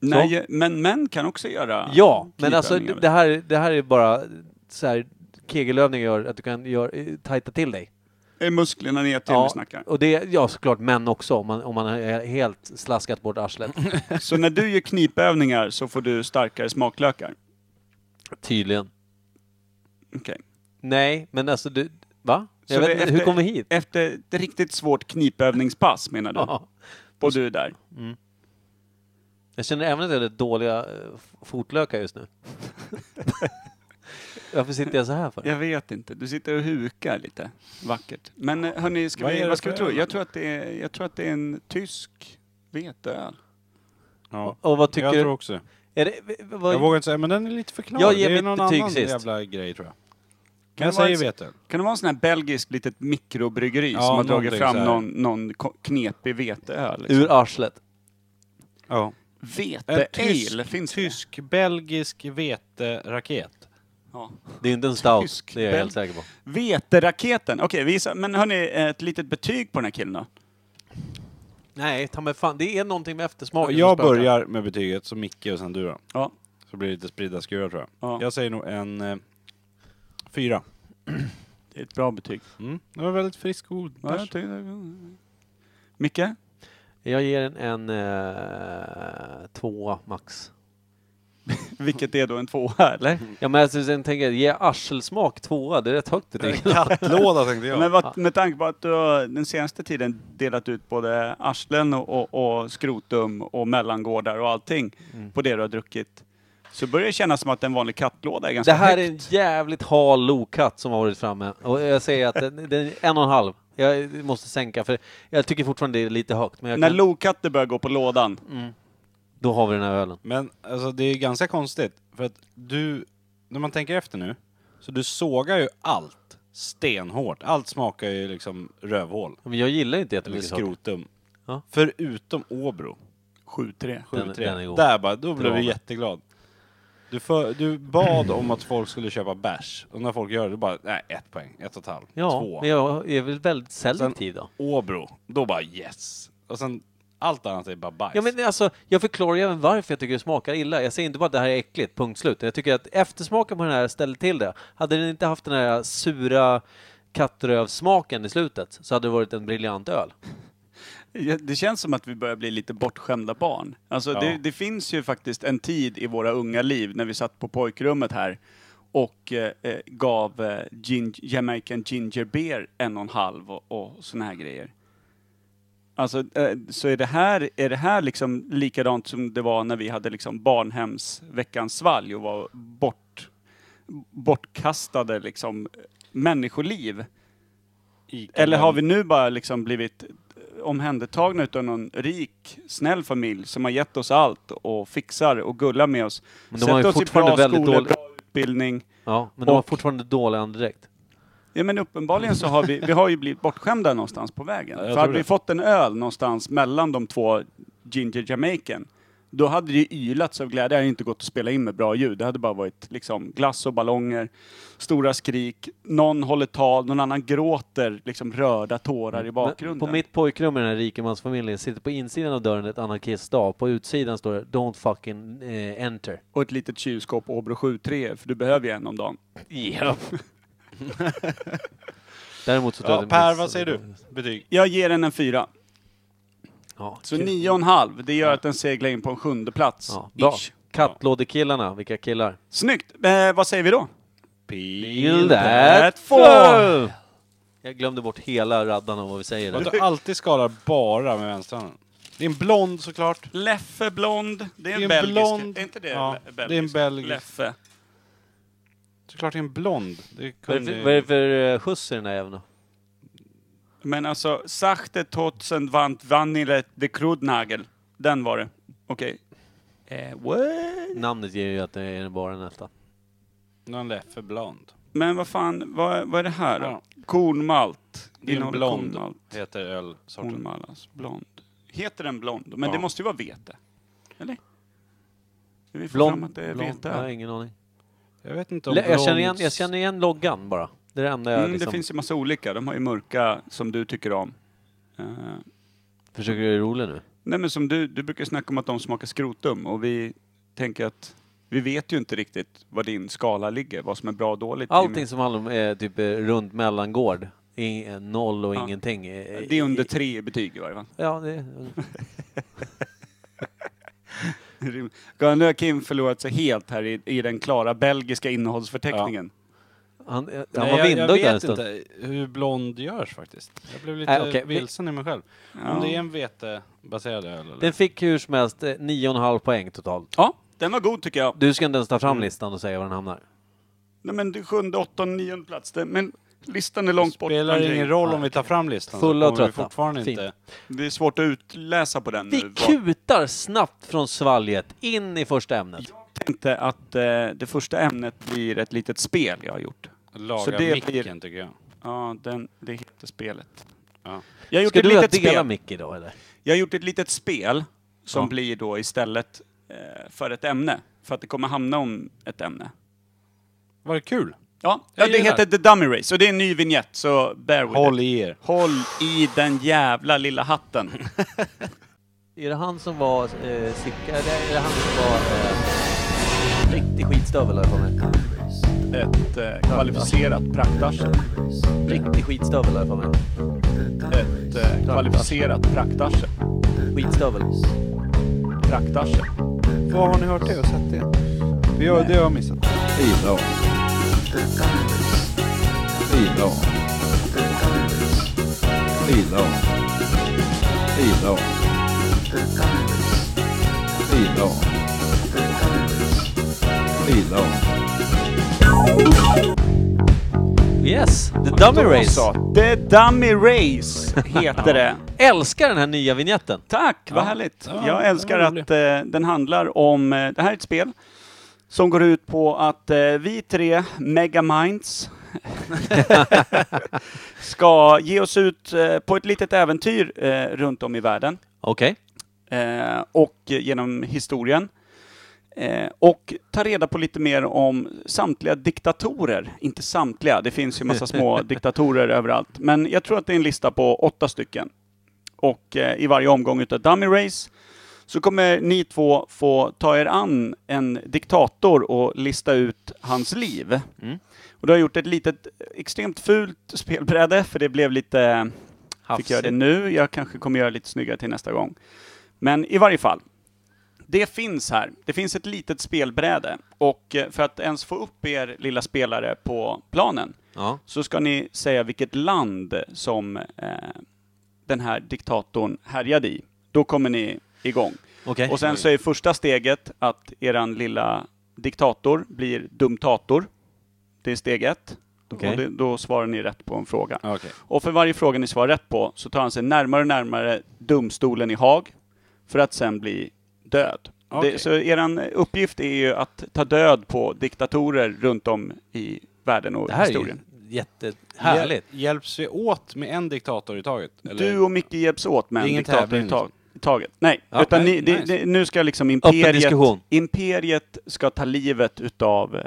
Speaker 3: Nej, men män kan också göra
Speaker 1: alltså- Ja, men alltså
Speaker 3: knipövningar.
Speaker 1: det här, det här är bara så här, kegelövningar gör att du kan gör, eh, tajta till dig.
Speaker 3: Är musklerna ner till vi snackar.
Speaker 1: och det, ja såklart män också om man, om man har helt slaskat bort arslet.
Speaker 3: Så när du gör knipövningar så får du starkare smaklökar.
Speaker 1: Tydligen.
Speaker 3: Okej.
Speaker 1: Nej, men alltså du, va? Jag
Speaker 3: Så
Speaker 1: vet,
Speaker 3: det-
Speaker 1: inte,
Speaker 3: efter-
Speaker 1: Hur kom vi hit?
Speaker 3: Efter ett riktigt svårt knipövningspass menar du?
Speaker 1: Ja.
Speaker 3: Och du är där.
Speaker 1: Jag känner även att jag har dåliga eh, f- fotlökar just nu. Varför sitter jag så här för?
Speaker 3: Jag vet inte, du sitter och hukar lite vackert. Men eh, hörni, ska
Speaker 2: Vad är
Speaker 3: vi,
Speaker 2: det
Speaker 3: vad ska
Speaker 2: för
Speaker 3: vi tro?
Speaker 2: öl?
Speaker 3: Jag tror, att det är, jag tror att det är en tysk veteöl.
Speaker 2: Ja.
Speaker 1: Och vad
Speaker 2: Jag
Speaker 1: tycker
Speaker 2: tror
Speaker 1: du?
Speaker 2: också
Speaker 1: Är det, v- vad,
Speaker 2: Jag vågar inte säga, men den är lite för klar.
Speaker 1: Jag ger
Speaker 2: det är
Speaker 1: mitt
Speaker 2: någon
Speaker 1: betyg
Speaker 2: annan
Speaker 1: sist.
Speaker 2: jävla grej tror jag.
Speaker 3: det
Speaker 2: Men jag
Speaker 3: vara
Speaker 2: säger
Speaker 3: en-
Speaker 2: vetöl.
Speaker 3: Kan det vara en sån här belgisk litet mikrobryggeri
Speaker 2: Ja,
Speaker 3: som har dragit
Speaker 2: någonting så
Speaker 3: fram
Speaker 2: här.
Speaker 3: någon, någon ko- knepig veteöl? Liksom?
Speaker 1: ur arslet.
Speaker 2: Ja. En
Speaker 3: Vete-ale,
Speaker 2: tysk,
Speaker 3: finns
Speaker 2: tysk-belgisk veteraket.
Speaker 3: det? Ja.
Speaker 1: Det är inte en stout,
Speaker 3: Tysk
Speaker 1: det är jag helt
Speaker 3: belg-
Speaker 1: säker på.
Speaker 3: Veteraketen, okej, vi sa- men hörni, ett litet betyg på den här killen då?
Speaker 1: Nej, ta mig fan, det är någonting med eftersmaken som
Speaker 2: Jag
Speaker 1: spökar.
Speaker 2: börjar med betyget, så Micke och sen du då.
Speaker 3: Ja.
Speaker 2: Så blir det lite spridda skurar tror jag.
Speaker 3: Ja.
Speaker 2: Jag säger nog en eh, fyra.
Speaker 3: Det är ett bra betyg.
Speaker 2: Mm. Det var väldigt frisk och god
Speaker 3: Ja, jag
Speaker 2: bärs.
Speaker 3: tycker- Micke?
Speaker 1: Jag ger den en eh, tvåa max.
Speaker 3: Vilket är då en tvåa, eller?
Speaker 1: Ja men alltså, sen tänker jag, ge arselsmak tvåa, det är rätt högt betyg.
Speaker 2: Kattlåda tänkte jag.
Speaker 3: Men vad, med tanke på att du har den senaste tiden delat ut både arslen och, och, och skrotum och mellangårdar och allting på det du har druckit. Så börjar det kännas som att en vanlig kattlåda är
Speaker 1: Det
Speaker 3: ganska
Speaker 1: här är
Speaker 3: högt.
Speaker 1: en jävligt hal lokatt som har varit framme. Och jag säger att den, den är en och en halv. Jag måste sänka för jag tycker fortfarande det är lite högt. Men jag
Speaker 3: När
Speaker 1: kan,
Speaker 3: lokatter börjar gå på lådan.
Speaker 1: då har vi den här ölen.
Speaker 2: Men alltså det är ganska konstigt, för att du, när man tänker efter nu, så du sågar ju allt stenhårt. Allt smakar ju liksom rövhål,
Speaker 1: Men jag gillar inte
Speaker 2: eller
Speaker 1: jättemycket saker.
Speaker 2: skrotum.
Speaker 1: Ja.
Speaker 2: Förutom Åbro,
Speaker 3: 7-3.
Speaker 2: 7-3.
Speaker 1: Den- den är god.
Speaker 2: Där bara, då blev
Speaker 1: var med.
Speaker 2: du jätteglad. Du, för, du bad om att folk skulle köpa bärs, och när folk gör det, då bara, nej, ett poäng, ett och ett halvt,
Speaker 1: Ja,
Speaker 2: två.
Speaker 1: men jag är väl väldigt selektiv då.
Speaker 2: Åbro, då bara yes. Och sen, allt annat är bara bajs.
Speaker 1: Ja, men alltså, jag förklarar ju även varför jag tycker det smakar illa. Jag säger inte bara att det här är äckligt, punkt slut. Jag tycker att eftersmaken på den här ställer till det. Hade den inte haft den här sura kattrövsmaken i slutet så hade det varit en briljant öl.
Speaker 3: Ja, Det känns som att vi börjar bli lite bortskämda barn. Alltså
Speaker 2: Ja.
Speaker 3: det, det finns ju faktiskt en tid i våra unga liv när vi satt på pojkrummet här och eh, eh, gav eh, gin, Jamaican ginger beer en och en halv och, och såna här grejer. Alltså, eh, så är det, här, är det här liksom likadant som det var när vi hade liksom barnhemsveckans svalg och var bort, bortkastade liksom människoliv?
Speaker 2: Ica-
Speaker 3: Eller har vi nu bara liksom blivit eh, omhändertagna utav någon rik, snäll familj som har gett oss allt och fixar och gullar med oss.
Speaker 1: Men de har
Speaker 3: Sätter
Speaker 1: ju
Speaker 3: oss i
Speaker 1: fortfarande
Speaker 3: bra
Speaker 1: väldigt
Speaker 3: skolor,
Speaker 1: dålig...
Speaker 3: bra utbildning.
Speaker 1: Ja, men de har
Speaker 3: och-
Speaker 1: fortfarande dålig andedräkt.
Speaker 3: Ja men uppenbarligen så har vi, vi har ju blivit bortskämda någonstans på vägen.
Speaker 2: Ja, jag
Speaker 3: För
Speaker 2: tror
Speaker 3: hade vi
Speaker 2: det.
Speaker 3: fått en öl någonstans mellan de två Ginger Jamaican, då hade det ju ylats av glädje. Det hade inte gått att spela in med bra ljud. Det hade bara varit liksom glass och ballonger, stora skrik, någon håller tal, någon annan gråter, liksom röda tårar i
Speaker 1: Men
Speaker 3: bakgrunden.
Speaker 1: På mitt pojkrum i den här rikemansfamiljen sitter på insidan av dörren ett anarkiststav. På utsidan står det “Don't fucking eh, enter”.
Speaker 3: Och ett litet kylskåp Åbro 7-3, för du behöver ju en om dagen.
Speaker 1: Yep. Däremot så tror jag
Speaker 2: Ja,
Speaker 1: att det
Speaker 2: per,
Speaker 1: finns-
Speaker 2: vad säger du? Betyg?
Speaker 3: Jag ger den en fyra.
Speaker 1: Ja,
Speaker 3: Så
Speaker 1: kul.
Speaker 3: nio och en halv, det gör att den seglar in på en sjunde plats.
Speaker 1: Ja, bra.
Speaker 3: Ish.
Speaker 1: Kattlådekillarna, vilka killar?
Speaker 3: Snyggt! Eh, vad säger vi då?
Speaker 1: Peel that foil! Jag glömde bort hela raddan av vad vi säger
Speaker 2: Och
Speaker 1: där.
Speaker 2: att du alltid skalar bara med vänsterhanden. Det är en blond såklart.
Speaker 3: Leffe Blond. Det är en,
Speaker 2: Det är en
Speaker 3: belgisk.
Speaker 2: blond.
Speaker 3: Är inte det
Speaker 2: Ja,
Speaker 3: le-
Speaker 2: det är en
Speaker 3: belgisk?
Speaker 2: belgisk.
Speaker 3: Leffe.
Speaker 2: Såklart det är en blond. Det
Speaker 1: Vad är det
Speaker 2: kunde...
Speaker 1: för- vad är det för eh, skjuts i den här jäveln då?
Speaker 3: Men alltså, Sachte Totzen Wand Vanille de Krudnagel. Den var det. Okej. Eh, what?
Speaker 1: Namnet ger ju att det är bara en etta.
Speaker 2: Någon Leffe blond.
Speaker 3: Men vad fan, vad, vad är det här då?
Speaker 2: Ja.
Speaker 3: Kornmalt.
Speaker 2: Det är en
Speaker 3: Innehåller
Speaker 2: blond.
Speaker 3: Kornmalt.
Speaker 2: Heter ölsorten.
Speaker 3: Kornmalt, alltså. Blond. Heter den blond? Men
Speaker 2: Ja.
Speaker 3: det måste ju vara vete. Eller? Ska Vi får
Speaker 1: Blond-
Speaker 3: fram att det är
Speaker 2: blond.
Speaker 1: Jag har
Speaker 3: vete. Mm,
Speaker 1: ingen aning.
Speaker 2: Jag vet inte om
Speaker 1: Le- Jag känner,
Speaker 2: blond-
Speaker 1: igen, jag känner igen loggan bara. Det är det enda jag
Speaker 3: Mm, det
Speaker 1: liksom
Speaker 3: finns ju massa olika. De har ju mörka, som du tycker om. Eh,
Speaker 1: försöker göra rolig nu.
Speaker 3: Nej men som du, du brukar snacka om att de smakar skrotum och vi tänker att vi vet ju inte riktigt var din skala ligger, vad som är bra och dåligt.
Speaker 1: Allting som handlar om eh, typ eh, runt mellangård, I- eh, noll och
Speaker 3: Ja.
Speaker 1: ingenting. eh,
Speaker 3: Det är under
Speaker 1: i-
Speaker 3: tre i betyg i varje fall.
Speaker 1: Ja, det eh,
Speaker 3: Nu har Kim förlorat sig helt här i, i den klara belgiska innehållsförteckningen.
Speaker 1: han, eh, han
Speaker 2: Nej,
Speaker 1: var
Speaker 2: jag, jag
Speaker 1: vindögd där en
Speaker 2: vet
Speaker 1: stund.
Speaker 2: inte hur blond görs faktiskt. Jag blev lite
Speaker 1: Nej, okej, vi-
Speaker 2: vilsen i mig själv.
Speaker 3: Ja.
Speaker 2: Om det är en vetebaserad öl eller?
Speaker 1: Den fick hur som helst eh, 9,5 poäng totalt.
Speaker 3: Ja, den var god tycker jag.
Speaker 1: Du ska inte ens ta fram listan och säga var den hamnar.
Speaker 3: Nej men det är sjunde, åttonde, nionde plats. Det- Men listan är långt bort.
Speaker 2: spelar
Speaker 3: André.
Speaker 2: ingen roll om vi tar fram listan. så
Speaker 1: Fulla och
Speaker 2: kommer vi
Speaker 1: trötta.
Speaker 2: fortfarande
Speaker 1: Fint.
Speaker 2: inte...
Speaker 3: Det är svårt att utläsa på den
Speaker 1: Vi
Speaker 3: nu. vad-
Speaker 1: Mm. kutar snabbt från svalget in i första ämnet.
Speaker 3: tänkte att eh, det första ämnet blir ett litet spel jag har gjort.
Speaker 2: Laga
Speaker 3: Så det
Speaker 2: micken
Speaker 3: blir-
Speaker 2: tycker jag.
Speaker 3: Ja, den, det heter spelet.
Speaker 2: Ja.
Speaker 3: Jag har gjort
Speaker 1: Ska
Speaker 3: ett
Speaker 1: du
Speaker 3: litet
Speaker 1: dela
Speaker 3: spel.
Speaker 1: Micke idag eller?
Speaker 3: Jag har gjort ett litet spel som
Speaker 1: Ja.
Speaker 3: blir då istället eh, för ett ämne. För att det kommer hamna om ett ämne.
Speaker 2: Var det kul?
Speaker 3: Ja, ja
Speaker 2: Jag
Speaker 3: det
Speaker 2: gillar.
Speaker 3: heter The Dummy Race och det är en ny vignett så bear with
Speaker 2: Håll
Speaker 3: it.
Speaker 2: i er.
Speaker 3: Håll i den jävla lilla hatten.
Speaker 1: Är det han som var eh, Sicka? Eller är det han som var eh, riktig skitstövel har jag för mig?
Speaker 3: Ett eh, kvalificerat praktarsel.
Speaker 1: Riktig skitstövel har jag för mig.
Speaker 3: Ett eh, kvalificerat praktarsel.
Speaker 1: Skitstövel.
Speaker 3: Praktarsel.
Speaker 6: Var har ni hört det och sett det? Vi har, det har jag missat. Idag. Idag. Idag. Idag. Idag. Idag.
Speaker 1: Yes, The Dummy
Speaker 3: Då
Speaker 1: Race.
Speaker 3: så, The Dummy Race heter det.
Speaker 1: Älskar den här nya vignetten.
Speaker 3: Tack, vad härligt.
Speaker 2: Ja,
Speaker 3: jag älskar
Speaker 2: den var
Speaker 3: att eh, den handlar om, eh, det här är ett spel som går ut på att eh, vi tre megaminds ska ge oss ut eh, på ett litet äventyr eh, runt om i världen
Speaker 1: Okej.
Speaker 3: eh, och genom historien. Eh, och ta reda på lite mer om samtliga diktatorer. Inte samtliga, det finns ju massa små diktatorer överallt. Men jag tror att det är en lista på åtta stycken. Och eh, i varje omgång utav Dummy Race så kommer ni två få ta er an en diktator och lista ut hans liv.
Speaker 1: Mm.
Speaker 3: Och du har jag gjort ett litet, extremt fult spelbräde, för det blev lite fick göra det
Speaker 1: Hafsigt.
Speaker 3: nu. Jag kanske kommer göra lite snyggare till nästa gång. Men i varje fall. Det finns här. Det finns ett litet spelbräde. Och eh, för att ens få upp er lilla spelare på planen
Speaker 1: Ja.
Speaker 3: så ska ni säga vilket land som eh, den här diktatorn härjade i. Då kommer ni igång.
Speaker 1: Okej.
Speaker 3: Och sen så är första steget att eran lilla diktator blir dumtator. Det är steg ett.
Speaker 1: Okej.
Speaker 3: Och det, då svarar ni rätt på en fråga.
Speaker 2: Okej.
Speaker 3: Och för varje fråga ni svarar rätt på så tar han sig närmare och närmare domstolen i Haag för att sen bli död.
Speaker 2: Okej.
Speaker 3: Det, så er uppgift är ju att ta död på diktatorer runt om i världen och
Speaker 1: Det här är ju
Speaker 3: historien.
Speaker 1: jättehärligt.
Speaker 2: Hjäl- Hjälps vi åt med en diktator i taget? eller?
Speaker 3: Du och Micke hjälps åt med
Speaker 2: Det är
Speaker 3: en
Speaker 2: ingen
Speaker 3: diktator
Speaker 2: tävling,
Speaker 3: i tag- i taget. Nej,
Speaker 1: liksom. Ja,
Speaker 3: utan
Speaker 2: nej,
Speaker 3: ni, det-
Speaker 2: nice.
Speaker 3: det, nu ska liksom
Speaker 1: Öppen
Speaker 3: imperiet,
Speaker 1: diskussion.
Speaker 3: imperiet ska ta livet utav eh,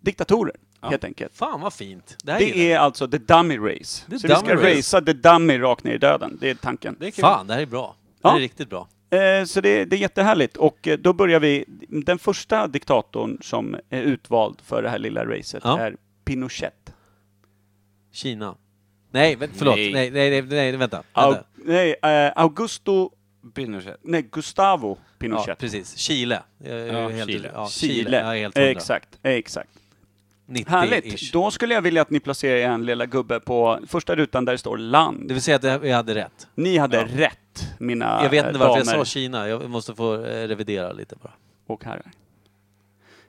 Speaker 3: diktatorer,
Speaker 2: Ja.
Speaker 3: helt enkelt.
Speaker 1: Fan vad fint! Det här
Speaker 3: Det
Speaker 1: gillar
Speaker 3: är alltså the dummy race.
Speaker 1: The
Speaker 3: så
Speaker 1: dummy
Speaker 3: vi ska
Speaker 1: race.
Speaker 3: racea the dummy rakt ner i döden, det är tanken.
Speaker 2: Det är
Speaker 1: jag.
Speaker 2: kul.
Speaker 1: Fan, det här är bra. Det här
Speaker 3: Ja.
Speaker 1: är riktigt bra.
Speaker 3: Eh, så det, det är jättehärligt. Och eh, då börjar vi, den första diktatorn som är utvald för det här lilla racet
Speaker 1: Ja.
Speaker 3: är Pinochet.
Speaker 1: Kina. Nej, vä- förlåt. Nej,
Speaker 3: Nej.
Speaker 1: nej, nej, nej, vänta.
Speaker 3: Au,
Speaker 1: vänta.
Speaker 3: nej, eh, Augusto,
Speaker 2: Pinochet.
Speaker 3: nej, Gustavo
Speaker 1: Ja,
Speaker 3: Pinochet.
Speaker 1: precis. Chile. Jag är
Speaker 2: Ja,
Speaker 1: helt,
Speaker 2: Chile.
Speaker 1: Ja, Chile.
Speaker 3: Chile.
Speaker 1: Jag är helt
Speaker 3: Eh,
Speaker 1: hundra.
Speaker 3: exakt, eh, exakt.
Speaker 1: 90
Speaker 3: Härligt.
Speaker 1: Ish.
Speaker 3: Då skulle jag vilja att ni placerar er en lilla gubbe på första rutan där det står
Speaker 1: Det
Speaker 3: land.
Speaker 1: vill säga att jag hade rätt.
Speaker 3: Ni hade rätt, mina
Speaker 1: Jag vet inte varför jag
Speaker 3: damer
Speaker 1: sa Kina. Jag måste få eh, revidera lite bara.
Speaker 3: och herrar.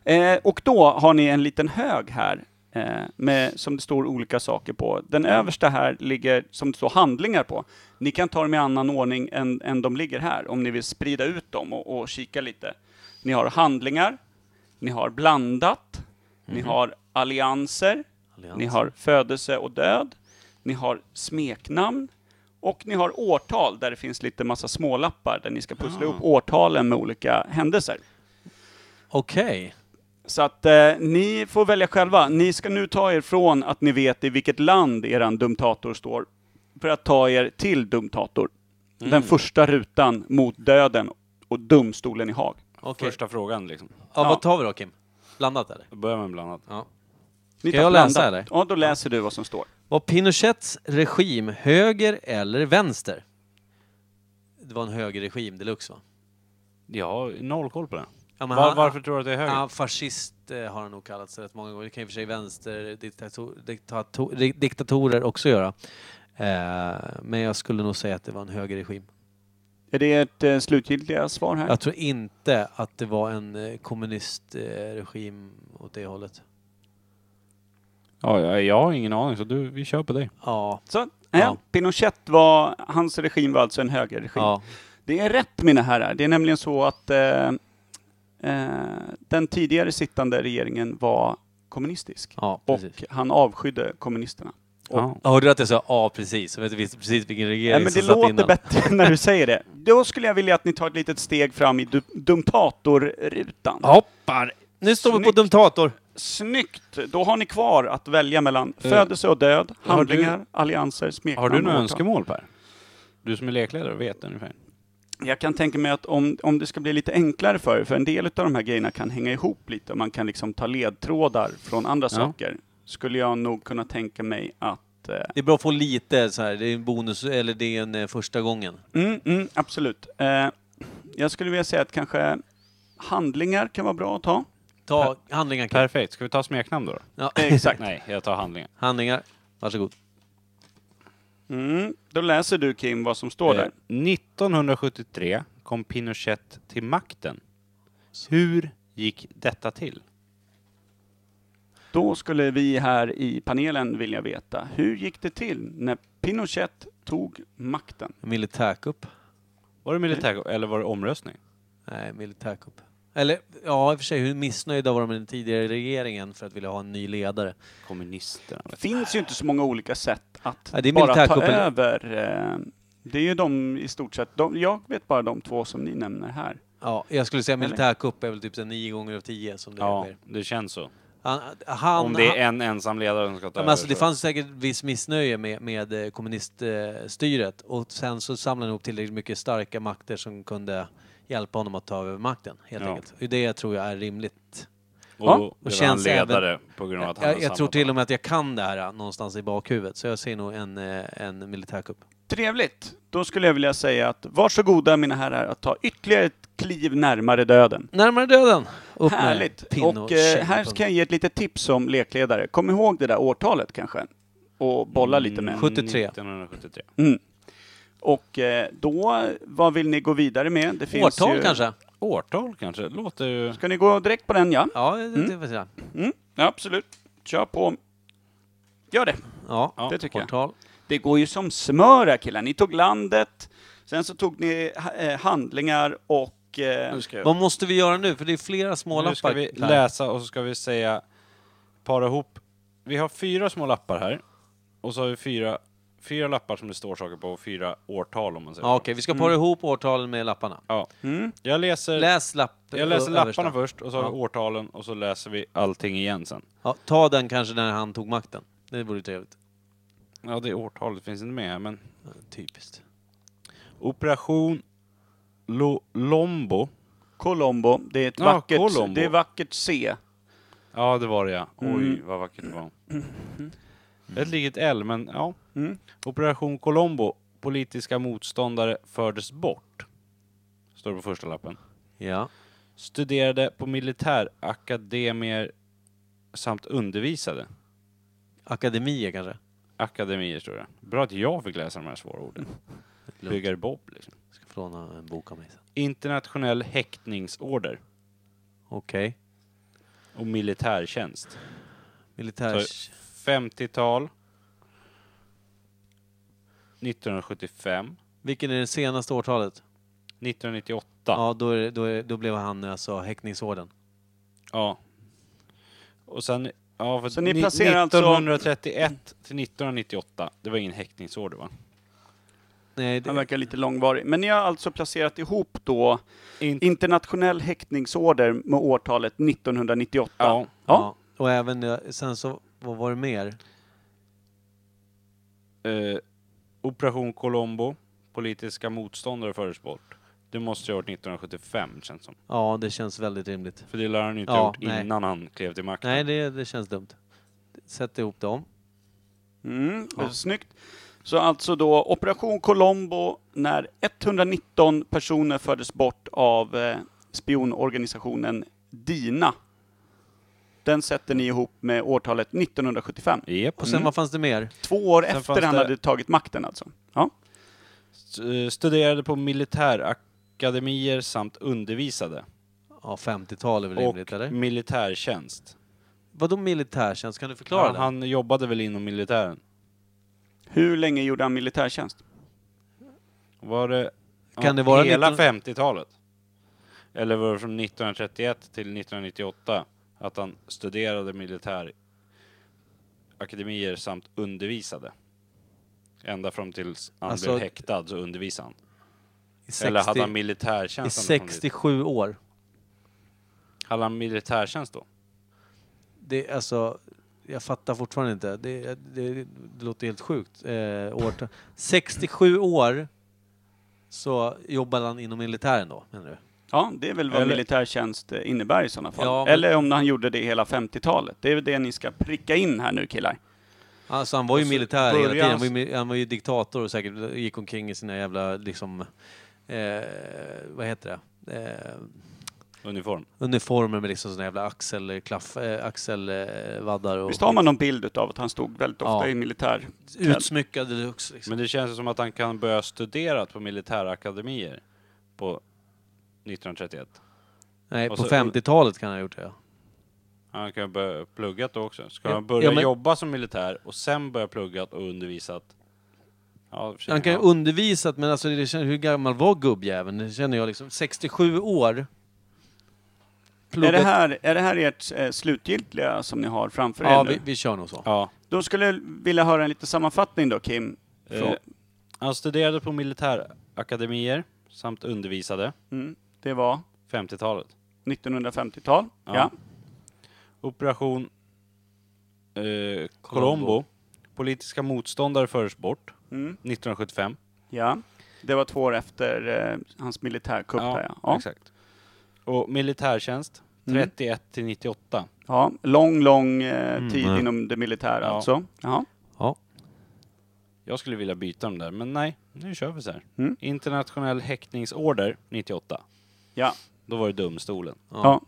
Speaker 3: Eh, och då har ni en liten hög här eh, med, som det står olika saker på. Den översta här ligger, som det står handlingar på. Ni kan ta dem i annan ordning än, än de ligger här, om ni vill sprida ut dem och, och kika lite. Ni har handlingar, ni har blandat, ni har allianser,
Speaker 1: Allians.
Speaker 3: ni har födelse och död, ni har smeknamn och ni har årtal där det finns lite massa smålappar där ni ska pussla ihop årtalen med olika händelser.
Speaker 1: Okej.
Speaker 3: Så att eh, ni får välja själva. Ni ska nu ta er från att ni vet i vilket land eran dumtator står för att ta er till dumtator.
Speaker 1: Mm.
Speaker 3: Den första rutan mot döden och domstolen i Haag.
Speaker 1: Okej.
Speaker 2: Första frågan liksom.
Speaker 1: Ja,
Speaker 3: Ja.
Speaker 1: vad tar vi då Kim? Blandat eller?
Speaker 2: Då börjar man bland annat.
Speaker 1: Ja.
Speaker 3: Ni
Speaker 1: Ska
Speaker 3: tar
Speaker 1: jag läsa,
Speaker 3: blandat.
Speaker 1: eller?
Speaker 3: Ja, då läser du vad som står.
Speaker 1: Var Pinochets regim höger eller vänster? Det var en högerregim deluxe va?
Speaker 2: Jag har noll koll på det.
Speaker 1: Ja, men
Speaker 2: Var,
Speaker 1: han-
Speaker 2: varför tror du att det är höger?
Speaker 1: Ja, fascist eh, har han nog kallats rätt många gånger. Det kan i och för sig vänster diktator, diktator, di- diktatorer också göra. Eh, men jag skulle nog säga att det var en högerregim.
Speaker 3: Är det ert eh, slutgiltiga svar här?
Speaker 1: Jag tror inte att det var en eh, kommunistregim åt det hållet.
Speaker 2: Ja, jag, jag har ingen aning, så du, vi kör på dig.
Speaker 1: Ja.
Speaker 3: Så, eh,
Speaker 1: Ja.
Speaker 3: Pinochet var, hans regim var alltså en högerregim.
Speaker 1: ja.
Speaker 3: Det är rätt mina herrar. Det är nämligen så att eh, eh, den tidigare sittande regeringen var kommunistisk.
Speaker 1: Ja,
Speaker 3: Och
Speaker 1: precis.
Speaker 3: han avskydde kommunisterna. Och-
Speaker 2: Ja.
Speaker 1: Hörde du att jag sa ja precis? Så vet du visst precis vilken regering
Speaker 3: Nej, men det
Speaker 1: som satt
Speaker 3: låter
Speaker 1: innan.
Speaker 3: bättre när du säger det. Då skulle jag vilja att ni tar ett litet steg fram i du- Dumtator-rutan.
Speaker 1: Hoppar! Nu står vi på
Speaker 3: Snyggt.
Speaker 1: Dumtator.
Speaker 3: Snyggt! Då har ni kvar att välja mellan födelse och död,
Speaker 2: Eh, har
Speaker 3: handlingar, allianser, smeknamn
Speaker 2: Har du
Speaker 3: och
Speaker 2: några
Speaker 3: årtal.
Speaker 2: önskemål Per? Du som är lekledare och vet ungefär.
Speaker 3: Jag kan tänka mig att om, om det ska bli lite enklare för er, för en del av de här grejerna kan hänga ihop lite och man kan liksom ta ledtrådar från andra saker, skulle jag nog kunna tänka mig att... Eh,
Speaker 1: Det är bra att få lite så här, det är en bonus, eller det är en eh, första gången.
Speaker 3: mm, mm, absolut. Eh, jag skulle vilja säga att kanske handlingar kan vara bra att ta.
Speaker 1: Ta handlingar Kim.
Speaker 2: Perfekt, ska vi ta smeknamn då? då?
Speaker 1: Ja,
Speaker 3: Exakt.
Speaker 2: Nej, jag tar handlingar.
Speaker 1: handlingar. Varsågod.
Speaker 3: Mm, då läser du Kim vad som står där.
Speaker 2: Eh, 1973 kom Pinochet till makten. Hur gick detta till?
Speaker 3: Då skulle vi här i panelen vilja veta, hur gick det till när Pinochet tog makten?
Speaker 1: Militärkupp.
Speaker 2: Var det militär eller var det omröstning?
Speaker 1: Nej, militärkupp. Eller ja, i och för sig, hur missnöjda var de med den tidigare regeringen för att vilja ha en ny ledare?
Speaker 2: Kommunisterna. vet
Speaker 3: Det
Speaker 2: du.
Speaker 3: finns ju inte så många olika sätt att
Speaker 1: Ja, det är
Speaker 3: bara ta
Speaker 1: militärkuppen.
Speaker 3: över. eh, Det är ju de i stort sett, de, jag vet bara de två som ni nämner här.
Speaker 1: Ja, jag skulle säga
Speaker 3: Eller?
Speaker 1: militärkupp är väl typ så här nio gånger av tio som det
Speaker 2: Ja,
Speaker 1: sker.
Speaker 2: det känns så.
Speaker 1: Han, han,
Speaker 2: Om det
Speaker 1: han,
Speaker 2: är en ensam ledare som ska ta
Speaker 1: Ja,
Speaker 2: över.
Speaker 1: men alltså, det
Speaker 2: så-
Speaker 1: fanns säkert viss missnöje med, med eh, kommuniststyret och sen så samlade han ihop tillräckligt mycket starka makter som kunde hjälpa honom att ta över makten helt
Speaker 2: Ja.
Speaker 1: enkelt. Och Det tror jag är rimligt.
Speaker 2: Och
Speaker 3: Ja.
Speaker 2: då
Speaker 1: Och
Speaker 2: blev han
Speaker 1: känns
Speaker 2: ledare på grund av att han
Speaker 1: Jag, jag tror till och med att jag kan det här eh, någonstans i bakhuvudet så jag ser nog en, eh, en militärkupp.
Speaker 3: Trevligt! Då skulle jag vilja säga att varsågoda mina herrar att ta ytterligare ett kliv närmare döden.
Speaker 1: Närmare döden! Upp med
Speaker 3: Härligt!
Speaker 1: pinne
Speaker 3: Och eh, här
Speaker 1: tjejpunkt.
Speaker 3: ska jag ge ett litet tips som lekledare. Kom ihåg det där årtalet kanske och bolla lite med.
Speaker 2: Mm,
Speaker 1: 73.
Speaker 2: 1973.
Speaker 3: Mm. Och eh, då, vad vill ni gå vidare med? Det finns
Speaker 1: Årtal
Speaker 3: ju...
Speaker 1: kanske?
Speaker 2: Årtal kanske? Det låter ju...
Speaker 3: Ska ni gå direkt på den ja?
Speaker 1: Ja, det, det, får jag säga.
Speaker 3: Mm, absolut. Kör på. Gör det.
Speaker 1: Ja,
Speaker 2: Ja,
Speaker 3: det tycker jag.
Speaker 1: portal.
Speaker 3: Det går ju som smör här killar. Ni tog landet, sen så tog ni ha- eh, handlingar och... Eh,
Speaker 1: Vad måste vi göra nu? För det är flera små
Speaker 2: Nu ska
Speaker 1: lappar.
Speaker 2: vi
Speaker 1: här.
Speaker 2: läsa och så ska vi säga, para ihop. Vi har fyra små lappar här. Och så har vi fyra, fyra lappar som det står saker på och fyra årtal om man säger
Speaker 1: Ja,
Speaker 2: så.
Speaker 1: Okej, vi ska para ihop årtalen med lapparna.
Speaker 2: Ja.
Speaker 3: Mm.
Speaker 2: Jag läser,
Speaker 1: Läs lapp...
Speaker 2: jag läser
Speaker 1: översta.
Speaker 2: lapparna först och så har vi
Speaker 1: Ja.
Speaker 2: årtalen och så läser vi allting igen sen.
Speaker 1: Ja, ta den kanske när han tog makten. Det vore trevligt.
Speaker 2: Ja, det årtalet finns inte med här men...
Speaker 1: Typiskt.
Speaker 2: Operation Lo- Lombo.
Speaker 3: Colombo, det är ett
Speaker 2: Ja,
Speaker 3: vackert,
Speaker 2: Colombo.
Speaker 3: Det är vackert C.
Speaker 2: Ja, det var det ja. Oj,
Speaker 3: Mm.
Speaker 2: vad vackert det var. Mm. Ett litet L, men ja.
Speaker 3: Mm.
Speaker 2: Operation Colombo. Politiska motståndare fördes bort. Står det på första lappen.
Speaker 1: Ja.
Speaker 2: Studerade på militärakademier samt undervisade.
Speaker 1: Akademier kanske?
Speaker 2: Akademier står det. Bra att jag fick läsa de här svåra orden.
Speaker 1: Lugnt.
Speaker 2: Bygger Bob liksom.
Speaker 1: Ska få låna en bok av mig sen.
Speaker 2: Internationell häktningsorder
Speaker 1: Okej.
Speaker 2: och militärtjänst.
Speaker 1: Militär...
Speaker 2: Så- 50-tal. 1975.
Speaker 1: Vilken är det senaste årtalet?
Speaker 2: 1998.
Speaker 1: Ja, då, är, det- då, är, då blev han alltså häktningsorden.
Speaker 2: Ja. Och sen... Ja, för
Speaker 3: Så ni
Speaker 2: ni-
Speaker 3: placerar alltså-
Speaker 2: 1931 till 1998. Det var ingen häktningsorder va?
Speaker 1: Nej, det,
Speaker 3: Han verkar lite långvarig. Men ni har alltså placerat ihop då
Speaker 2: In-
Speaker 3: internationell häktningsorder med årtalet 1998.
Speaker 2: ja.
Speaker 1: ja. Och även eh, sen så, vad var det mer?
Speaker 2: Eh, Operation Colombo. Politiska motståndare fördes bort. Det måste ju ha varit 1975 känns som.
Speaker 1: Ja, det känns väldigt rimligt.
Speaker 2: För det lär han ju inte
Speaker 1: Ja,
Speaker 2: ha gjort
Speaker 1: nej.
Speaker 2: innan han klev till makten.
Speaker 1: Nej, det, det känns dumt. Sätt ihop dem.
Speaker 3: Mm, det är Snyggt. Så alltså då Operation Colombo när 119 personer fördes bort av eh, spionorganisationen DINA. Den sätter ni ihop med årtalet 1975.
Speaker 2: Japp.
Speaker 1: Och sen vad fanns det mer?
Speaker 3: Två år
Speaker 2: Sen
Speaker 3: efter
Speaker 2: fanns
Speaker 3: han
Speaker 2: det-
Speaker 3: hade tagit makten alltså. Ja.
Speaker 2: S- eh, Studerade på militärakademier samt undervisade.
Speaker 1: Ja, 50-tal är väl rimligt,
Speaker 2: och
Speaker 1: eller?
Speaker 2: militärtjänst.
Speaker 1: Vadå militärtjänst? Kan du förklara
Speaker 2: Ja,
Speaker 1: det?
Speaker 2: han jobbade väl inom militären?
Speaker 3: Hur länge gjorde han militärtjänst?
Speaker 2: Var det,
Speaker 1: Kan det vara
Speaker 2: hela
Speaker 1: 19
Speaker 2: 50-talet? Eller var det från 1931 till 1998 att han studerade militärakademier samt undervisade? Ända fram tills han
Speaker 1: Alltså-
Speaker 2: blev häktad så undervisade han.
Speaker 1: I
Speaker 2: Eller hade han
Speaker 1: 60 I
Speaker 2: militärtjänst? när han kom dit?
Speaker 1: 67 år.
Speaker 2: Hade han militärtjänst då?
Speaker 1: Det, är alltså, jag fattar fortfarande inte. Det, det, det låter helt sjukt. Eh, årtal- 67 år så jobbade han inom militären då, menar du?
Speaker 3: Ja, det är väl vad
Speaker 2: Eller-
Speaker 3: militärtjänst eh, innebär i sådana fall.
Speaker 1: Ja, men-
Speaker 3: Eller om han gjorde det hela 50-talet. Det är väl det ni ska pricka in här nu killar.
Speaker 1: Alltså han var ju
Speaker 2: Och så
Speaker 1: militär hela tiden.
Speaker 2: började
Speaker 1: Han var, ju, mi- han var ju diktator och säkert gick omkring i sina jävla, liksom, eh, vad heter det? Eh,
Speaker 2: Uniform?
Speaker 1: uniformer med liksom såna jävla axelklaff, eh, axelvaddar och
Speaker 3: Visst har man någon bild utav att han stod väldigt ofta
Speaker 1: Ja.
Speaker 3: i militär...
Speaker 1: utsmyckade deluxe. Liksom.
Speaker 2: Men det känns ju som att han kan börja studera på militärakademier på 1931.
Speaker 1: Nej,
Speaker 2: och
Speaker 1: på
Speaker 3: alltså,
Speaker 2: så-
Speaker 1: 50-talet kan han ha gjort det. ja.
Speaker 2: Han kan börja pluggat då också. Ska
Speaker 1: Ja,
Speaker 2: han börja
Speaker 1: ja, men-
Speaker 2: jobba som militär och sen börja pluggat och undervisat? Ja, i och för sig,
Speaker 1: Han kan ju
Speaker 2: ja.
Speaker 1: undervisat, men alltså, det känns, hur gammal var gubbjäveln? Det känner jag liksom. 67 år.
Speaker 3: Är
Speaker 1: Pluggat.
Speaker 3: det, här, är det här ert eh, slutgiltiga som ni har framför er
Speaker 1: ja,
Speaker 3: nu?
Speaker 1: vi, vi kör nog så.
Speaker 2: ja.
Speaker 3: Då skulle jag vilja höra en liten sammanfattning då Kim. Från,
Speaker 2: Eh, Han studerade på militärakademier samt undervisade
Speaker 3: mm, det var
Speaker 2: 50-talet.
Speaker 3: 1950-tal.
Speaker 2: Ja.
Speaker 3: Ja.
Speaker 2: Operation eh, Colombo. Politiska motståndare fördes bort
Speaker 3: Mm,
Speaker 2: 1975.
Speaker 3: ja. Det var två år efter eh, hans militärkupp. Ja, ja. Ja.
Speaker 2: exakt. Och militärtjänst
Speaker 3: Mm.
Speaker 2: 31 till 98.
Speaker 3: ja. Lång, lång eh, tid
Speaker 1: Mm.
Speaker 3: inom det militära
Speaker 2: Ja.
Speaker 3: alltså. Ja.
Speaker 2: Jag skulle vilja byta dem där, men nej, nu kör vi så här.
Speaker 3: Mm.
Speaker 2: Internationell häktningsorder 98.
Speaker 3: Ja.
Speaker 2: Då var det domstolen.
Speaker 3: ja.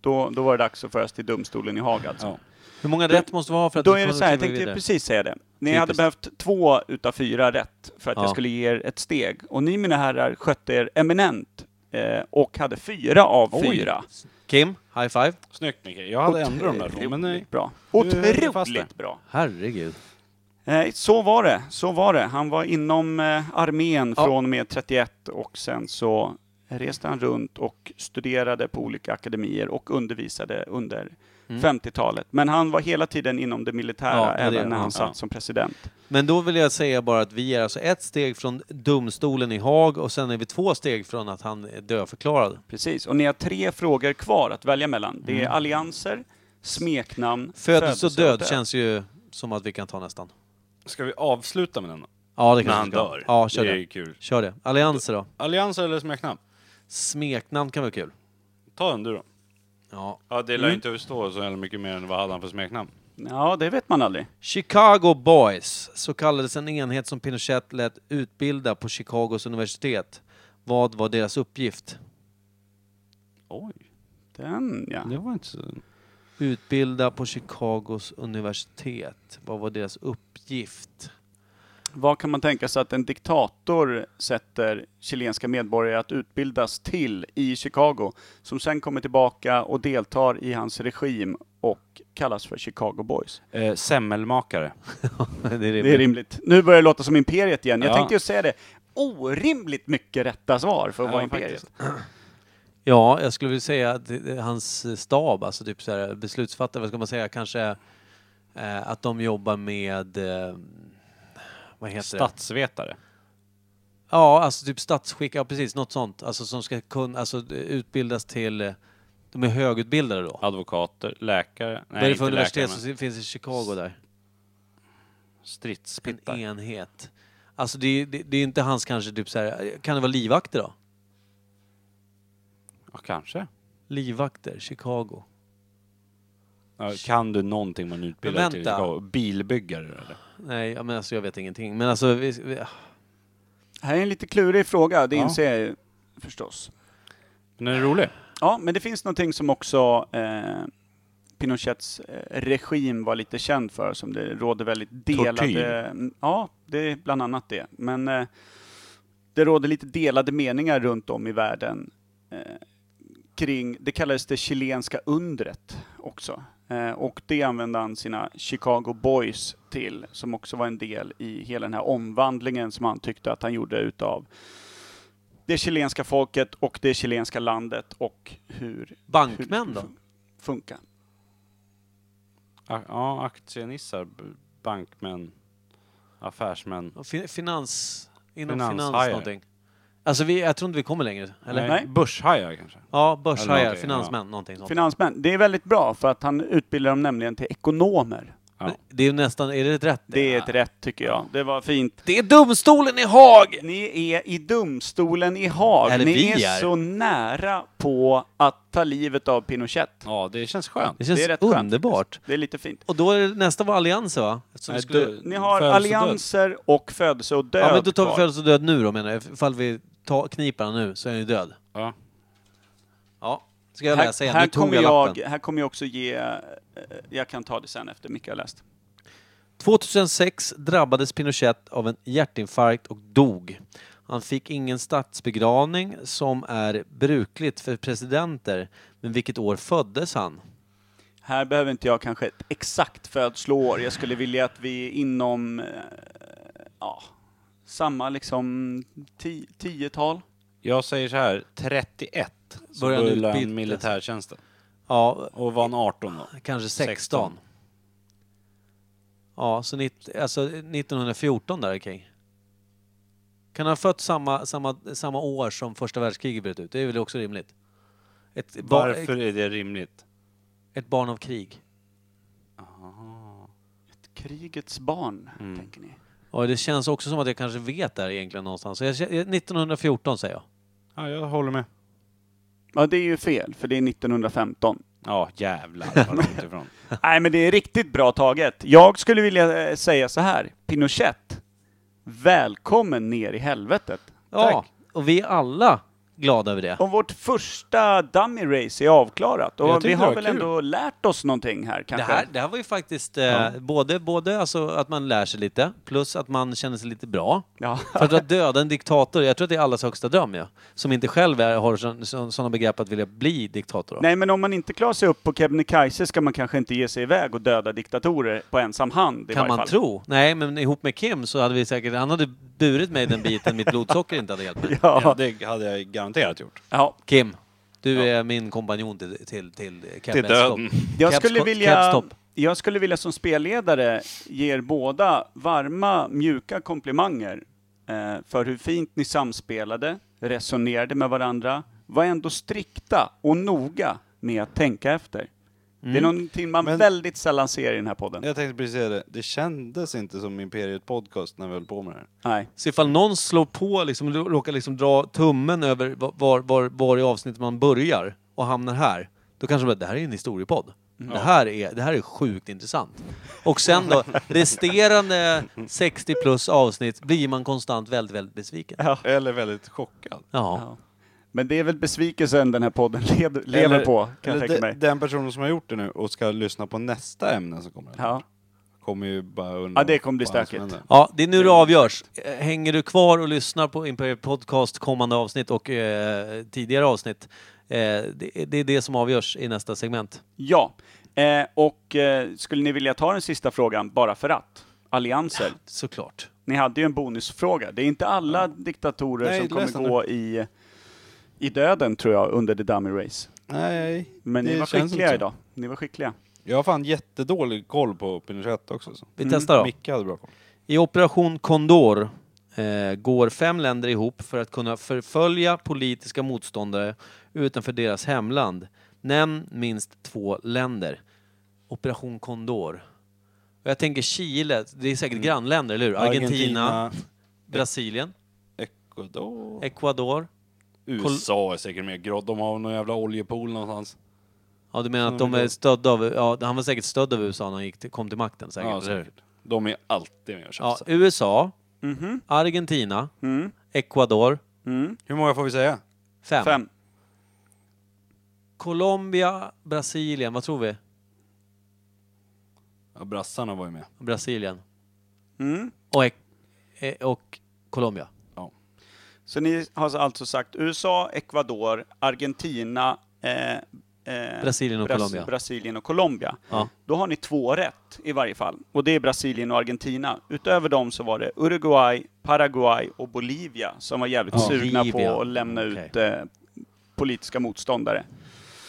Speaker 3: Då, då var det dags att föras till domstolen i Haag alltså.
Speaker 2: Ja.
Speaker 1: Hur många rätt måste vi ha för att
Speaker 3: Då
Speaker 1: vi
Speaker 3: är det
Speaker 1: kommer
Speaker 3: så här, jag
Speaker 1: kliva
Speaker 3: tänkte
Speaker 1: vidare?
Speaker 3: precis säga det. Ni
Speaker 1: Typiskt.
Speaker 3: hade behövt två utav fyra rätt för att
Speaker 1: Ja.
Speaker 3: jag skulle ge er ett steg. Och ni mina herrar skötte er eminent eh, och hade fyra av
Speaker 2: Oj.
Speaker 3: fyra.
Speaker 1: Kim, High five.
Speaker 2: Snyggt Micke. Jag hade ändrat dem där två, men nej.
Speaker 3: bra.
Speaker 2: är fast där.
Speaker 3: Otroligt bra.
Speaker 1: Herregud.
Speaker 3: Eh, så var det, så var det. Han var inom eh, armén
Speaker 1: Ja.
Speaker 3: från och med 31 och sen så reste han runt och studerade på olika akademier och undervisade under 50-talet. Men han var hela tiden inom det militära,
Speaker 1: Mm. Ja, det är
Speaker 3: även
Speaker 1: det.
Speaker 3: när han
Speaker 1: Ja.
Speaker 3: satt som president.
Speaker 1: Men då vill jag säga bara att vi är alltså ett steg från domstolen i Haag och sen är vi två steg från att han är dödförklarad.
Speaker 3: Precis, och ni har tre frågor kvar att välja mellan. Det är allianser, smeknamn,
Speaker 1: Födelse och död känns ju som att vi kan ta nästan.
Speaker 2: Ska vi avsluta med den då?
Speaker 1: Ja, det
Speaker 2: När
Speaker 1: kanske
Speaker 2: han
Speaker 1: vi ska.
Speaker 2: dör.
Speaker 1: Ja, kör
Speaker 2: det är
Speaker 1: det.
Speaker 2: ju kul.
Speaker 1: Kör det. Allianser då?
Speaker 2: Allians eller smeknamn?
Speaker 1: Smeknamn kan vara kul.
Speaker 2: Ta den du då. Mm.
Speaker 1: Ja.
Speaker 2: Ja, det lär ju inte stå så jävla mycket mer än vad hade han för smeknamn.
Speaker 3: Ja, det vet man aldrig.
Speaker 1: Chicago Boys, så kallades en enhet som Pinochet lät utbilda på Chicagos universitet. Vad var deras uppgift?
Speaker 2: Oj.
Speaker 3: Den ja.
Speaker 2: Det var inte så...
Speaker 1: Utbilda på Chicagos universitet. Vad var deras uppgift?
Speaker 3: Vad kan man tänka sig att en diktator sätter chilenska medborgare att utbildas till i Chicago, som sen kommer tillbaka och deltar i hans regim och kallas för Chicago Boys.
Speaker 2: Eh, semmelmakare.
Speaker 1: det är
Speaker 3: Det är
Speaker 1: rimligt.
Speaker 3: rimligt. Nu börjar det låta som Imperiet igen. Jag
Speaker 2: Ja.
Speaker 3: tänkte ju säga det. Orimligt mycket rätta svar för att
Speaker 2: Ja,
Speaker 3: vara Imperiet.
Speaker 2: faktiskt.
Speaker 1: Ja, jag skulle vilja säga att det- det- hans stab, alltså typ så här beslutsfattare, vad ska man säga, kanske eh, att de jobbar med eh, vad heter det?
Speaker 2: Statsvetare.
Speaker 1: Ja, alltså typ statsskick, ja precis, något sånt. Alltså som ska kunna, alltså eh, utbildas till, eh, de är högutbildade då.
Speaker 2: Advokater. Läkare.
Speaker 1: Vad är
Speaker 2: Nej,
Speaker 1: det för
Speaker 2: inte läkare
Speaker 1: universitet
Speaker 2: men
Speaker 1: som finns i Chicago där? En
Speaker 2: stridspittar.
Speaker 1: enhet. Alltså det, är- det, det är inte hans kanske typ så här, kan det vara livvakter då?
Speaker 2: Ja, kanske.
Speaker 1: Livvakter, Chicago.
Speaker 2: Ja, kan du någonting man utbildar
Speaker 1: Men
Speaker 2: till?
Speaker 1: vänta.
Speaker 2: Chicago? Bilbyggare eller?
Speaker 1: Nej, ja, men alltså jag vet ingenting. Men alltså, vi, vi,
Speaker 3: Här är en lite klurig fråga, det
Speaker 2: Ja.
Speaker 3: inser jag ju förstås.
Speaker 2: Men den är rolig.
Speaker 3: Ja, men det finns någonting som också eh, Pinochets eh, regim var lite känd för, som det råder väldigt delade...
Speaker 2: Tortyr.
Speaker 3: Mm, Ja, det är bland annat det. Men eh, det råder lite delade meningar runt om i världen eh, kring, det kallades det chilenska undret också. Eh, och det använde han sina Chicago Boys till, som också var en del i hela den här omvandlingen som han tyckte att han gjorde utav det chilenska folket och det chilenska landet och hur
Speaker 1: bankmän då?
Speaker 3: funkar.
Speaker 2: A- ja, aktienissar, b- bankmän, affärsmän.
Speaker 1: Och Fi, finans, inom
Speaker 2: Finans-
Speaker 1: finans,
Speaker 2: hajar.
Speaker 1: någonting. Alltså vi, jag tror inte vi kommer längre, eller?
Speaker 2: Nej,
Speaker 3: Nej.
Speaker 2: Börshajar kanske.
Speaker 1: Ja, börshajar,
Speaker 2: någonting,
Speaker 1: finansmän, någonting sånt.
Speaker 3: Finansmän, det är väldigt bra för att han utbildar dem nämligen till ekonomer.
Speaker 2: Ja.
Speaker 1: Men Det är ju nästan, är det ett rätt?
Speaker 3: Det är ett rätt tycker jag. Det var fint.
Speaker 1: Det är domstolen i Haag!
Speaker 3: Ni är i domstolen i Haag.
Speaker 1: Eller
Speaker 3: Ni
Speaker 1: vi
Speaker 3: är
Speaker 1: är.
Speaker 3: så nära på att ta livet av Pinochet.
Speaker 2: Ja, det känns skönt.
Speaker 1: Det känns
Speaker 3: Det är rätt skönt,
Speaker 1: underbart.
Speaker 3: Det är lite fint.
Speaker 1: Och då är det, nästa var allianser va? Eftersom vi
Speaker 2: Nej,
Speaker 1: skulle...
Speaker 2: dö-
Speaker 3: Ni har
Speaker 2: födelse och död.
Speaker 3: allianser och födelse och död
Speaker 1: Ja men då tar vi
Speaker 3: kvar.
Speaker 1: födelse och död nu då menar jag, ifall vi tar kniparna nu så är han ju död.
Speaker 2: Ja.
Speaker 1: Ja, ska jag läsa
Speaker 3: Här,
Speaker 1: igen?
Speaker 3: här,
Speaker 1: nu tog
Speaker 3: kommer
Speaker 1: jag
Speaker 3: jag,
Speaker 1: lappen.
Speaker 3: här kommer jag också ge... eh, Jag kan ta det sen efter mycket har läst.
Speaker 1: 2006 drabbades Pinochet av en hjärtinfarkt och dog. Han fick ingen statsbegravning som är brukligt för presidenter, men vilket år föddes han?
Speaker 3: Här behöver inte jag kanske ett exakt födslår. Jag skulle vilja att vi är inom eh, ja, samma liksom ti- tiotal.
Speaker 2: Jag säger så här, 31 så
Speaker 1: Började
Speaker 2: började han
Speaker 1: utbildas.
Speaker 2: militärtjänsten.
Speaker 1: Ja,
Speaker 2: Och var han 18 då?
Speaker 1: kanske 16.
Speaker 2: 16.
Speaker 1: Ja, så nitt- alltså 1914 där kring. Kan han ha fött samma, samma, samma år som första världskriget bröt ut? Det är väl också rimligt? Ett, ba-
Speaker 2: Varför är det rimligt?
Speaker 1: ett barn av krig.
Speaker 3: Krigets barn,
Speaker 2: Mm.
Speaker 3: tänker ni.
Speaker 1: Ja, det känns också som att jag kanske vet där egentligen någonstans. Så jag, kä- 1914 säger jag.
Speaker 2: Ja, jag håller med.
Speaker 3: Ja, det är ju fel, för det är 1915.
Speaker 2: Ja, jävlar vad långt ifrån.
Speaker 3: Nej, men det är riktigt bra taget. Jag skulle vilja eh, säga så här. Pinochet, välkommen ner i helvetet.
Speaker 1: Ja, och vi alla glad över det.
Speaker 3: Och vårt första dummy race är avklarat
Speaker 2: Jag
Speaker 3: och
Speaker 2: tyckte
Speaker 3: vi
Speaker 2: det
Speaker 3: har
Speaker 2: var
Speaker 3: väl
Speaker 2: kul.
Speaker 3: ändå lärt oss någonting här
Speaker 1: Det
Speaker 3: kanske.
Speaker 1: här, det här var ju faktiskt eh, både, både alltså att man lär sig lite, plus att man känner sig lite bra.
Speaker 3: Ja.
Speaker 1: För att du har dödat en diktator, jag tror att det är allas högsta dröm ja. Som inte själv är, har så- så- sådana begrepp att vilja bli diktator.
Speaker 3: Nej, men om man inte klarar sig upp på Kebnekaise ska man kanske inte ge sig iväg och döda diktatorer på ensam hand i
Speaker 1: kan
Speaker 3: varje
Speaker 1: man
Speaker 3: fall.
Speaker 1: tro. Nej, men ihop med Kim så hade vi säkert, han hade burit mig den biten mitt blodsocker inte hade hjälpt mig.
Speaker 2: Ja,
Speaker 3: Ja.
Speaker 2: det hade jag garanterat gjort.
Speaker 3: ja.
Speaker 1: Kim, du är min kompanjon till, till, till Kebs
Speaker 2: Till döden.
Speaker 1: topp.
Speaker 3: Jag,
Speaker 1: Kebs-
Speaker 3: skulle
Speaker 1: Kebs
Speaker 3: vilja,
Speaker 1: topp.
Speaker 3: jag skulle vilja som spelledare ge er båda varma, mjuka komplimanger eh, för hur fint ni samspelade, resonerade med varandra, var ändå strikta och noga med att tänka efter. Det är någonting man
Speaker 2: Mm. Men-
Speaker 3: väldigt sällan ser i den här podden.
Speaker 2: Jag tänkte precis säga det. Det kändes inte som Imperiet Podcast när vi höll på med det här.
Speaker 3: Nej.
Speaker 1: Så ifall någon slår på, liksom, råkar liksom dra tummen över va- var, var, var i avsnittet man börjar och hamnar här, då kanske de bara, det här är en historiepodd.
Speaker 3: Mm.
Speaker 1: Det, här är, det här är sjukt intressant. Och sen då, resterande 60 plus avsnitt blir man konstant väldigt, väldigt besviken. Ja.
Speaker 2: Eller väldigt chockad.
Speaker 3: Ja. Men det är väl besvikelsen den här podden led, lever
Speaker 2: Eller-
Speaker 3: på, kan jag
Speaker 2: Eller
Speaker 3: tänka
Speaker 2: de,
Speaker 3: mig.
Speaker 2: den personen som har gjort det nu och ska lyssna på nästa ämne som kommer.
Speaker 3: Ja.
Speaker 2: Kommer ju bara undra.
Speaker 3: Ja, det kommer bli
Speaker 2: vad som
Speaker 3: stökigt.
Speaker 2: händer.
Speaker 1: Ja, det är nu det avgörs. Eh, Hänger du kvar och lyssnar på Imperial Podcast kommande avsnitt och eh, tidigare avsnitt? Eh, det, det är det som avgörs i nästa segment.
Speaker 3: Ja, eh, och eh, skulle ni vilja ta den sista frågan bara för att? Allianser.
Speaker 1: Såklart.
Speaker 3: Ni hade ju en bonusfråga. Det är inte alla diktatorer
Speaker 2: Nej,
Speaker 3: som
Speaker 2: läs den
Speaker 3: kommer gå i, i döden tror jag under the dummy race.
Speaker 2: Nej,
Speaker 3: Men ni var
Speaker 2: känns inte
Speaker 3: skickliga
Speaker 2: så.
Speaker 3: idag. Ni var skickliga.
Speaker 2: Jag har fan jättedålig koll på Pinochet också. Så.
Speaker 1: Vi testar då.
Speaker 2: Micke hade bra koll.
Speaker 1: I Operation Condor eh, går fem länder ihop för att kunna förfölja politiska motståndare utanför deras hemland. Nämn minst två länder. Operation Condor. Och Jag tänker Chile, det är säkert grannländer, eller hur? Mm. Argentina, Brasilien,
Speaker 2: Ecuador.
Speaker 1: Ecuador.
Speaker 2: USA är säkert mer grått. De har någon jävla oljepool någonstans.
Speaker 1: Ja, du menar att de är stödda av... Ja, han var säkert stödd av USA när han gick till, kom till makten säkert,
Speaker 2: Ja,
Speaker 1: eller hur?
Speaker 2: säkert. De är alltid med och
Speaker 1: Ja,
Speaker 2: tjafsar.
Speaker 1: USA,
Speaker 3: Mhm.
Speaker 1: Argentina,
Speaker 3: Mm.
Speaker 1: Ecuador,
Speaker 2: Hur många får vi säga?
Speaker 1: fem.
Speaker 3: Fem.
Speaker 1: Colombia, Brasilien, vad tror vi?
Speaker 2: Ja, brassarna var ju med.
Speaker 1: Brasilien.
Speaker 3: Mm.
Speaker 1: Och, Ec- eh, och Colombia.
Speaker 3: Så ni har alltså sagt USA, Ecuador, Argentina, eh, eh,
Speaker 1: Brasilien och Colombia.
Speaker 3: Brasilien och Colombia.
Speaker 1: Ja.
Speaker 3: Då har ni två rätt i varje fall. Och det är Brasilien och Argentina. Utöver dem så var det Uruguay, Paraguay och Bolivia som var jävligt
Speaker 1: Ja.
Speaker 3: sugna
Speaker 1: Bolivia.
Speaker 3: på att lämna
Speaker 1: Okej.
Speaker 3: ut eh, politiska motståndare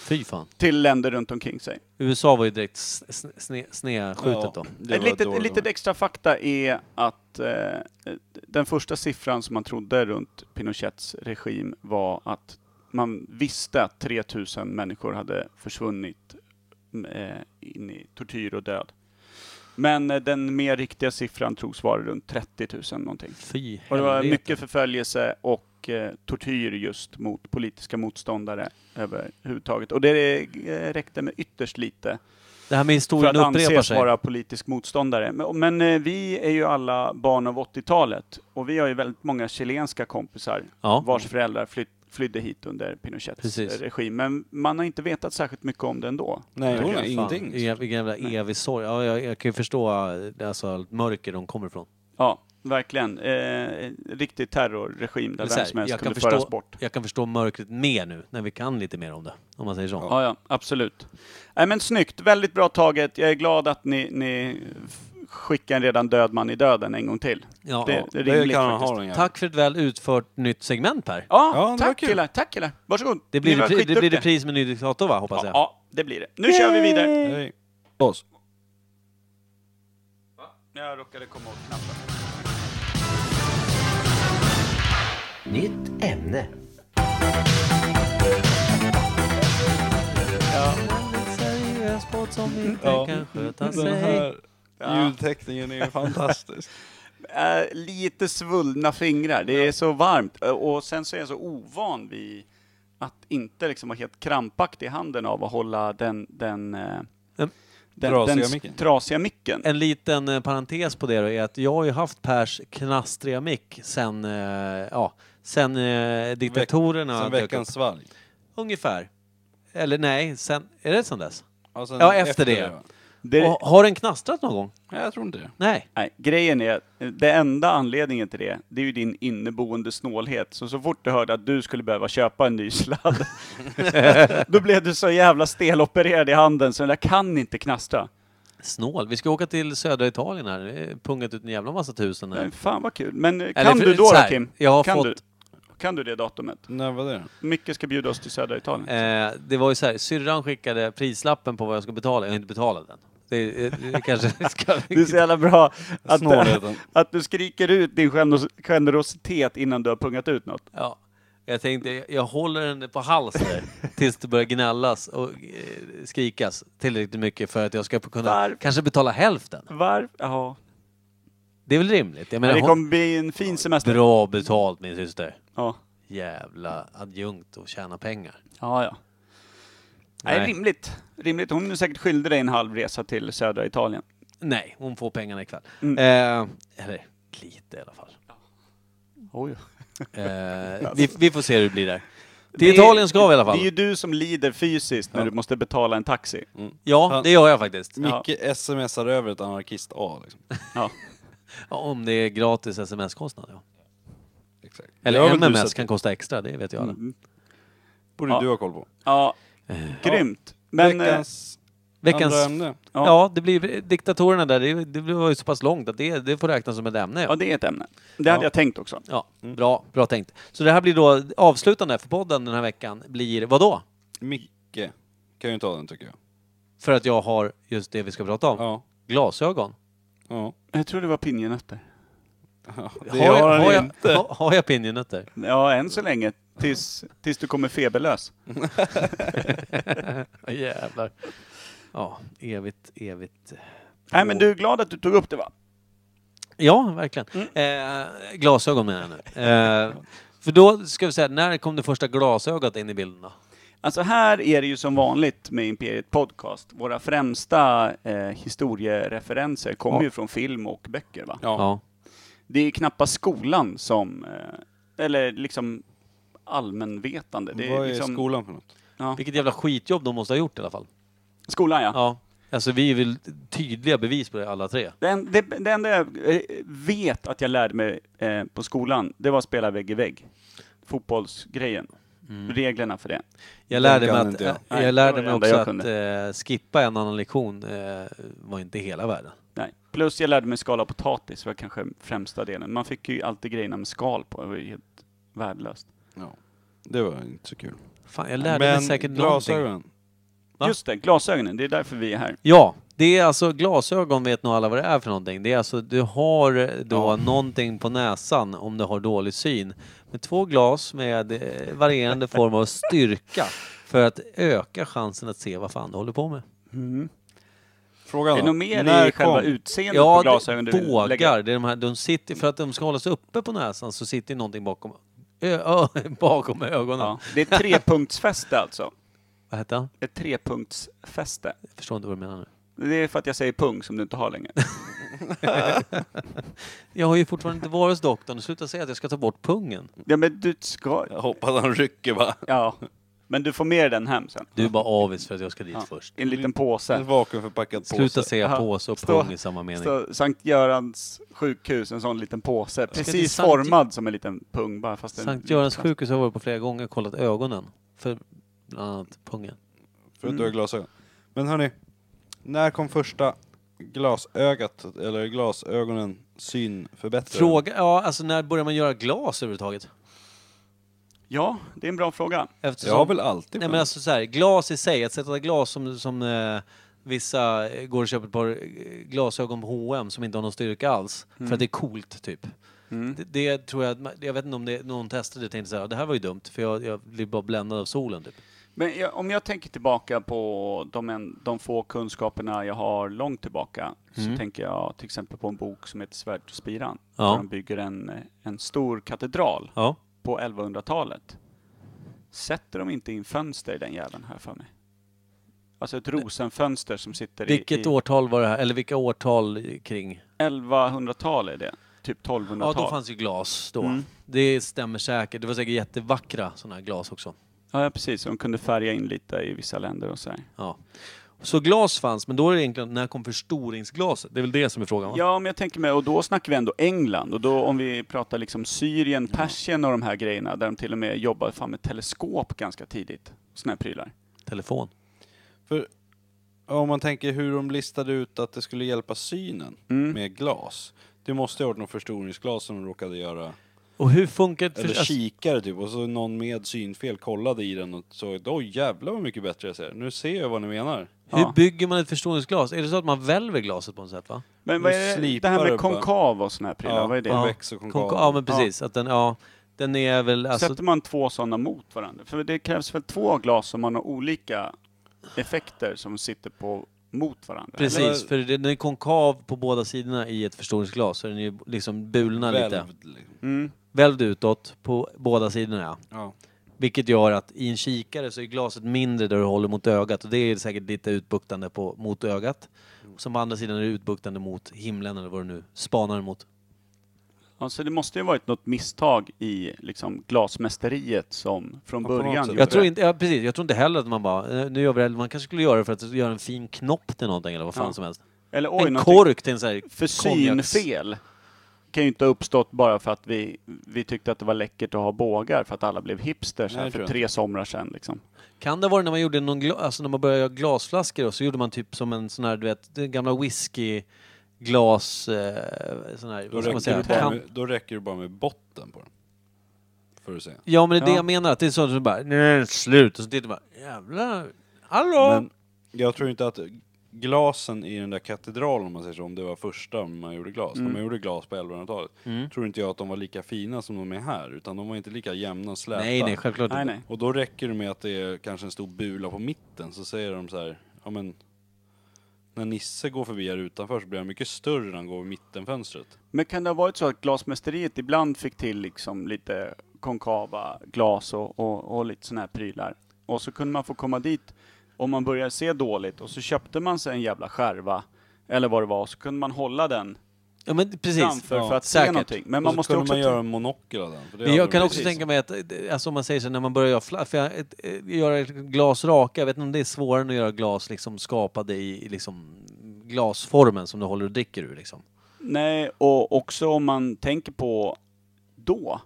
Speaker 1: Fy fan.
Speaker 3: till länder runt omkring sig.
Speaker 1: USA var ju direkt snedskjutet sne, sne snedskjutet då.
Speaker 2: det
Speaker 3: Ett
Speaker 2: var
Speaker 3: litet,
Speaker 2: dåligt.
Speaker 3: litet extra fakta är att eh, den första siffran som man trodde runt Pinochets regim var att man visste att 3000 människor hade försvunnit mm, eh, in i tortyr och död. Men eh, den mer riktiga siffran tros vara runt 30 000 någonting.
Speaker 1: Fy
Speaker 3: Och det var
Speaker 1: helvete.
Speaker 3: mycket förföljelse och eh, tortyr just mot politiska motståndare överhuvudtaget. Och det eh, räckte med ytterst lite
Speaker 1: Det här med
Speaker 3: för
Speaker 1: historien
Speaker 3: att
Speaker 1: upprepar
Speaker 3: anses
Speaker 1: sig.
Speaker 3: vara politisk motståndare. Men, men eh, vi är ju alla barn av 80-talet och vi har ju väldigt många chilenska kompisar
Speaker 1: Ja.
Speaker 3: vars föräldrar flytt, flydde hit under Pinochets
Speaker 1: Precis.
Speaker 3: regim. Men man har inte vetat särskilt mycket om det ändå.
Speaker 2: Nej,
Speaker 1: Tycker
Speaker 2: hon
Speaker 1: jag,
Speaker 2: har
Speaker 1: fan.
Speaker 2: ingenting.
Speaker 1: Vilken vilken jävla evig sorg. Ja, jag, jag kan ju förstå eh, alltså, allt mörker de kommer ifrån.
Speaker 3: Ja, verkligen. Eh, riktig terrorregim där
Speaker 1: Men så
Speaker 3: vem
Speaker 1: här,
Speaker 3: som helst
Speaker 1: jag, kan
Speaker 3: kunde föras
Speaker 1: förstå,
Speaker 3: bort.
Speaker 1: jag kan förstå mörkret mer nu, när vi kan lite mer om det. Om man säger så.
Speaker 3: Ja, ja, absolut. Nej, men snyggt. Väldigt bra taget. Jag är glad att ni, ni f- skickar en redan död man i döden en gång till.
Speaker 1: Ja.
Speaker 3: det,
Speaker 1: Ja,
Speaker 3: det är
Speaker 2: Det
Speaker 3: rimligt
Speaker 2: kan han
Speaker 3: faktiskt.
Speaker 2: ha den jäveln.
Speaker 1: Tack för ett väl utfört nytt segment Per.
Speaker 3: Ja,
Speaker 2: Ja, det var
Speaker 3: tack
Speaker 2: kul.
Speaker 3: killar. Tack killar. Varsågod.
Speaker 1: Det
Speaker 3: Ni
Speaker 1: blir,
Speaker 3: var
Speaker 1: repri- det blir
Speaker 3: skitduktiga.
Speaker 1: repris alltså. Mm. med ny diktator va, hoppas
Speaker 3: Ja,
Speaker 1: jag?
Speaker 3: ja, det blir det. Nu kör vi vidare.
Speaker 2: Hej. Oss.
Speaker 3: Jag råkade komma åt knappen.
Speaker 7: Nytt ämne.
Speaker 1: seriös båt som inte
Speaker 2: Ja.
Speaker 1: kan sköta
Speaker 2: Den
Speaker 1: sig.
Speaker 2: här ljudteckningen är ju fantastisk.
Speaker 3: Eh, lite svullna fingrar. Det är så varmt. Eh, Och sen så är jag så ovan vid att inte liksom vara helt krampaktig i handen av att hålla den, den eh,
Speaker 1: Mm.
Speaker 3: Den
Speaker 2: Trasiga
Speaker 3: den s-
Speaker 2: micken.
Speaker 3: Trasiga micken.
Speaker 1: En liten eh, parentes på det då är att jag har ju haft Pers knastriga mick sen, eh, ja, sen eh, diktatorerna
Speaker 2: Sen
Speaker 1: dök
Speaker 2: veckans
Speaker 1: upp.
Speaker 2: svalg.
Speaker 1: Ungefär. Eller nej, sen, är det sen dess?
Speaker 2: Ja, sen
Speaker 1: Ja, efter det.
Speaker 2: va?
Speaker 3: Det,
Speaker 1: Och, har den knastrat någon gång?
Speaker 2: Nej, jag tror inte det.
Speaker 1: Nej.
Speaker 3: nej, grejen är, det enda anledningen till det, det är ju din inneboende snålhet. Så så fort du hörde att du skulle behöva köpa en ny sladd, då blev du så jävla stelopererad i handen så den där kan inte knastra.
Speaker 1: Snål. Vi ska åka till södra Italien här. Det är pungat ut en jävla massa tusen här.
Speaker 3: Nej, fan vad kul. Men eh,
Speaker 1: Eller
Speaker 3: kan
Speaker 1: för-
Speaker 3: du då,
Speaker 1: så
Speaker 3: då
Speaker 1: här,
Speaker 3: Kim?
Speaker 1: jag har
Speaker 3: kan,
Speaker 1: fått-
Speaker 3: du, kan du det datumet?
Speaker 2: När var det?
Speaker 3: Micke ska bjuda oss till södra Italien.
Speaker 1: Eh, det var ju så här, syrran skickade prislappen på vad jag ska betala. Jag har inte betalat den. Det, eh, det kanske ska...
Speaker 3: Det är så jävla bra att,
Speaker 2: Snålheten.
Speaker 3: att du skriker ut din genos- generositet innan du har pungat ut något.
Speaker 1: Ja. Jag tänkte, jag- jag håller den på hals där tills det börjar gnällas och eh, skrikas tillräckligt mycket för att jag ska kunna
Speaker 3: Varv.
Speaker 1: kanske betala hälften.
Speaker 3: Varför? Ja.
Speaker 1: Det är väl rimligt? Jag menar,
Speaker 3: Det
Speaker 1: hon-
Speaker 3: kommer bli en fin semester.
Speaker 1: bra betalt min syster.
Speaker 3: Ja,
Speaker 1: Jävla adjunkt och tjäna pengar.
Speaker 3: ja. ja. Nej.
Speaker 1: Nej.
Speaker 3: rimligt. Rimligt. Hon är säkert skyldig dig en halv resa till södra Italien.
Speaker 1: Nej, hon får pengarna ikväll. Eh, eller lite i alla fall.
Speaker 3: Oj.
Speaker 1: Eh, vi, vi får se hur det blir där. Till Italien ska vi i alla fall.
Speaker 3: Det är ju du som lider fysiskt när du måste betala en taxi.
Speaker 1: Ja, det gör jag faktiskt.
Speaker 3: Ja.
Speaker 2: Micke smsar över ett anarkist A liksom.
Speaker 3: Ja.
Speaker 1: Ja, om det är gratis sms-kostnad, ja.
Speaker 2: Exakt.
Speaker 1: Eller
Speaker 2: Det har väl du
Speaker 1: MMS
Speaker 2: sett?
Speaker 1: kan kosta extra, det vet jag. Mm.
Speaker 2: borde
Speaker 3: Ja.
Speaker 2: du ha koll på.
Speaker 3: ja.
Speaker 1: Eh,
Speaker 3: Grymt. Men eh,
Speaker 2: Veckans
Speaker 1: Veckans...
Speaker 2: andra ämne.
Speaker 1: Ja.
Speaker 3: Ja.
Speaker 1: det blir diktatorerna där, det, det var ju så pass långt att det, det får räknas som ett ämne.
Speaker 3: ja,
Speaker 1: Ja,
Speaker 3: det är ett ämne. Det hade jag tänkt också.
Speaker 1: ja bra, bra tänkt. Så det här blir då avslutande för podden den här veckan blir vad då?
Speaker 2: Micke kan ju ta den tycker jag.
Speaker 1: För att jag har just det vi ska prata om.
Speaker 2: Ja.
Speaker 1: Glasögon.
Speaker 2: ja.
Speaker 3: Jag tror det var pinjenötter.
Speaker 2: Det
Speaker 1: Har, jag-
Speaker 2: han
Speaker 1: har, jag,
Speaker 2: inte.
Speaker 1: har, har jag pinjenötter?
Speaker 3: Ja, än så länge. Tills, tills du kommer feberlös.
Speaker 1: Ja, Jävlar. Ja, evigt, evigt.
Speaker 3: Nej, men du är glad att du tog upp det va?
Speaker 1: Ja, verkligen. Eh, glasögon menar jag nu. Eh, för då ska vi säga, när kom det första glasögat in i bilden då?
Speaker 3: Alltså här är det ju som vanligt med Imperiet Podcast. Våra främsta eh, historiereferenser kommer
Speaker 1: Ja.
Speaker 3: ju från film och böcker va?
Speaker 2: Ja.
Speaker 1: Ja.
Speaker 3: Det är knappast skolan som, eh, eller liksom allmänvetande. Det är
Speaker 2: Vad är
Speaker 3: liksom,
Speaker 2: skolan för något?
Speaker 1: Vilket jävla skitjobb de måste ha gjort i alla fall.
Speaker 3: skolan ja.
Speaker 1: Ja. Alltså vi är väl tydliga bevis på det alla tre.
Speaker 3: Det, en- det, det enda jag eh, vet att jag lärde mig eh, på skolan, det var att spela vägg i vägg. Fotbollsgrejen. Reglerna för det.
Speaker 1: Jag lärde mig,
Speaker 2: kan
Speaker 1: att, eh,
Speaker 2: inte jag.
Speaker 1: jag.
Speaker 3: Nej,
Speaker 1: lärde
Speaker 3: det
Speaker 1: mig
Speaker 3: var det
Speaker 1: också
Speaker 3: enda
Speaker 1: att eh, skippa en annan lektion eh, var inte hela världen.
Speaker 3: Nej. Plus jag lärde mig skala potatis, var kanske främsta delen. Man fick ju alltid grejerna med skal på, det var ju helt värdelöst.
Speaker 2: Ja. Det var inte så kul.
Speaker 1: Fan, jag lärde mig säkert någonting.
Speaker 2: glasögon.
Speaker 1: Va?
Speaker 3: Just det, glasögonen, det är därför vi är här.
Speaker 1: Ja, det är alltså glasögon vet nog alla vad det är för någonting. Det är alltså, du har då någonting på näsan om du har dålig syn. Med två glas med eh, varierande form av styrka för att öka chansen att se vad fan du håller på med.
Speaker 2: Frågan
Speaker 3: Det är
Speaker 2: då,
Speaker 3: nog mer
Speaker 2: när
Speaker 3: i själva
Speaker 2: kom-
Speaker 3: utseendet på
Speaker 1: Ja,
Speaker 3: glasögonen
Speaker 1: det-
Speaker 3: du vill lägga.
Speaker 1: bågar. Det är de här, de sitter, för att de ska hållas uppe på näsan så sitter ju någonting bakom, ö, ö, bakom ögonen.
Speaker 3: Ja. Det är ett trepunktsfäste alltså.
Speaker 1: Vad hette han?
Speaker 3: Ett trepunktsfäste.
Speaker 1: Jag förstår inte vad du menar nu.
Speaker 3: Det är för att jag säger pung som du inte har längre.
Speaker 1: Jag har ju fortfarande inte varit hos doktorn. Sluta säga att jag ska ta bort pungen.
Speaker 3: Ja men du ska...
Speaker 2: Jag hoppas han rycker va?
Speaker 3: Ja. Men du får med den hem sen.
Speaker 1: Du är bara avis för att jag ska dit
Speaker 3: Ja.
Speaker 1: först.
Speaker 3: I en liten
Speaker 2: En
Speaker 3: påse.
Speaker 2: vakuumförpackad
Speaker 1: Sluta
Speaker 2: påse.
Speaker 1: säga
Speaker 3: Aha.
Speaker 1: påse och
Speaker 3: Stå-
Speaker 1: pung i samma mening.
Speaker 3: Så Sankt Görans sjukhus, en sån liten påse.
Speaker 1: till
Speaker 3: Precis
Speaker 1: Sankt-
Speaker 3: formad som en liten pung bara. Fast en
Speaker 1: Sankt
Speaker 3: liten
Speaker 1: Görans
Speaker 3: plast.
Speaker 1: sjukhus har jag varit på flera gånger och kollat ögonen. För bland annat pungen.
Speaker 2: För
Speaker 1: Mm.
Speaker 2: att du har glasögon. Men hörni, när kom första glasögat, eller glasögonen, synförbättrade?
Speaker 1: Fråga, ja alltså när börjar man göra glas överhuvudtaget?
Speaker 3: Ja, det är en bra fråga.
Speaker 1: Eftersom,
Speaker 2: Jag har väl alltid
Speaker 1: Nej men alltså så här, glas i sig, att sätta glas som, som eh, vissa eh, går och köper ett par eh, glasögon på H&M som inte har någon styrka alls. För att det är coolt typ. Det, det tror jag, att man- jag vet inte om det, någon testade det och tänkte så här, det här var ju dumt för jag, jag blir bara bländad av solen typ.
Speaker 3: Men jag, om jag tänker tillbaka på de, en, de få kunskaperna jag har långt tillbaka, så tänker jag till exempel på en bok som heter Svärd och spiran.
Speaker 1: Mm. Ja.
Speaker 3: Där de bygger en, en stor katedral
Speaker 1: Ja.
Speaker 3: på 1100-talet. Sätter de inte in fönster i den jäveln här för mig? Alltså ett rosenfönster som sitter
Speaker 1: Vilket
Speaker 3: i, i
Speaker 1: årtal var det här? Eller vilka årtal kring?
Speaker 3: 1100-tal är det. Typ
Speaker 1: Ja,
Speaker 3: 1200-tal.
Speaker 1: då fanns ju glas då.
Speaker 3: Mm.
Speaker 1: Det stämmer säkert. Det var säkert jättevackra sådana här glas också.
Speaker 3: Ja, ja, precis. De kunde färga in lite i vissa länder och så här.
Speaker 1: Ja. Så glas fanns, men då är det egentligen, när kom förstoringsglaset? Det är väl det som är frågan? Va?
Speaker 3: Ja, men jag tänker mig, och då snackar vi ändå England. Och då om vi pratar liksom Syrien, Persien och de här grejerna, där de till och med jobbade fan med teleskop ganska tidigt. Såna här prylar.
Speaker 1: Telefon.
Speaker 2: För om man tänker hur de listade ut att det skulle hjälpa synen
Speaker 3: Mm.
Speaker 2: med glas. Det måste ha varit något förstoringsglas som de råkade göra.
Speaker 1: Och hur funkar ett
Speaker 2: Eller
Speaker 1: förs-
Speaker 2: kikare typ och så någon med synfel kollade i den och såg att oj jävlar vad mycket bättre jag ser. Nu ser jag vad ni menar.
Speaker 1: alltså, Hur
Speaker 3: Ja.
Speaker 1: bygger man ett förstoringsglas? Är det så att man välver glaset på något sätt? Va?
Speaker 3: Men
Speaker 2: Nu
Speaker 3: vad är det, det
Speaker 2: slipar
Speaker 3: här
Speaker 2: det
Speaker 3: med
Speaker 2: bara.
Speaker 3: konkav och såna här prylar,
Speaker 2: Ja,
Speaker 3: vad är det?
Speaker 2: ja. Konvex och konkav.
Speaker 1: Konka- Ja, men precis. Att den, ja, den är väl... Alltså,
Speaker 3: Sätter man två sådana mot varandra? För det krävs väl två glas som har några olika effekter som sitter på mot varandra? eller?
Speaker 1: precis, för det- den är konkav på båda sidorna i ett förstoringsglas. Så den är ju liksom bulna lite.
Speaker 2: Välvd, liksom.
Speaker 3: Mm.
Speaker 1: Välvd utåt på båda sidorna, ja.
Speaker 2: Ja.
Speaker 1: Vilket gör att i en kikare så är glaset mindre där du håller mot ögat och det är säkert lite utbuktande på, mot ögat.
Speaker 3: Mm.
Speaker 1: Och Som på andra sidan är det utbuktande mot himlen eller vad du nu spanar mot.
Speaker 3: Ja, så Alltså, det måste ju varit något misstag i liksom, glasmästeriet som från
Speaker 2: Ja, på något
Speaker 3: början
Speaker 2: sätt.
Speaker 3: gjorde
Speaker 1: Jag tror,
Speaker 3: det.
Speaker 1: inte, ja, precis, jag tror inte heller att man bara, eh, nu gör vi det, här. man kanske skulle göra det för att göra en fin knopp till någonting eller vad fan
Speaker 3: Ja.
Speaker 1: som helst.
Speaker 3: Eller oj,
Speaker 1: en
Speaker 3: någonting-
Speaker 1: kork till en sån här
Speaker 3: För
Speaker 1: konjaks-
Speaker 3: synfel kan ju inte ha uppstått bara för att vi, vi tyckte att det var läckert att ha bågar för att alla blev hipsters
Speaker 2: Nej,
Speaker 3: här
Speaker 2: det tror
Speaker 3: för
Speaker 2: jag
Speaker 3: tre somrar sedan. Liksom.
Speaker 1: Kan det vara när man gjorde någon gla- alltså när man började göra glasflaskor och så gjorde man typ som en sån här, du vet, den gamla whiskyglas, eh, sån här,
Speaker 2: Då,
Speaker 1: vad ska man
Speaker 2: räcker
Speaker 1: säga,
Speaker 2: det bara
Speaker 1: kan-
Speaker 2: med, då räcker det bara med botten på den. För att se.
Speaker 1: Ja men det är det
Speaker 3: Ja.
Speaker 1: jag menar, att det är sånt som bara nej, slut och så tittar man jävlar, hallå!
Speaker 2: Men jag tror inte att glasen i den där katedralen om man säger så, om det var första man gjorde glas,
Speaker 1: Mm.
Speaker 2: när man gjorde glas på 1100-talet, tror inte jag att de var lika fina som de är här, utan de var inte lika jämna och släta.
Speaker 1: nej nej, självklart
Speaker 3: Nej,
Speaker 1: inte.
Speaker 3: nej.
Speaker 2: Och då räcker det med att det är kanske en stor bula på mitten, så säger de så här, ja men när Nisse går förbi här utanför så blir han mycket större när han går vid mittenfönstret.
Speaker 3: Men kan det ha varit så att glasmästeriet ibland fick till liksom lite konkava glas och, och, och lite sådana här prylar? Och så kunde man få komma dit om man började se dåligt och så köpte man sig en jävla skärva eller vad det var och så kunde man hålla den
Speaker 1: Ja men precis.
Speaker 3: framför
Speaker 2: Ja,
Speaker 3: för att se
Speaker 1: säkert.
Speaker 3: någonting. Men
Speaker 2: Man
Speaker 3: man
Speaker 2: och så
Speaker 3: måste
Speaker 2: kunde
Speaker 3: också...
Speaker 2: man
Speaker 3: ta-
Speaker 2: göra en monokel av den. För det
Speaker 1: Men
Speaker 2: hade
Speaker 1: jag
Speaker 2: de
Speaker 1: kan
Speaker 2: ju
Speaker 1: också
Speaker 2: precis.
Speaker 1: tänka mig att, eh, alltså om man säger så när man börjar göra, fla- för jag, ett- eh, göra ett glas raka, jag vet inte om det är svårare än att göra glas liksom skapade i i liksom glasformen som du håller och dricker ur liksom.
Speaker 3: Nej, och också om man tänker på då,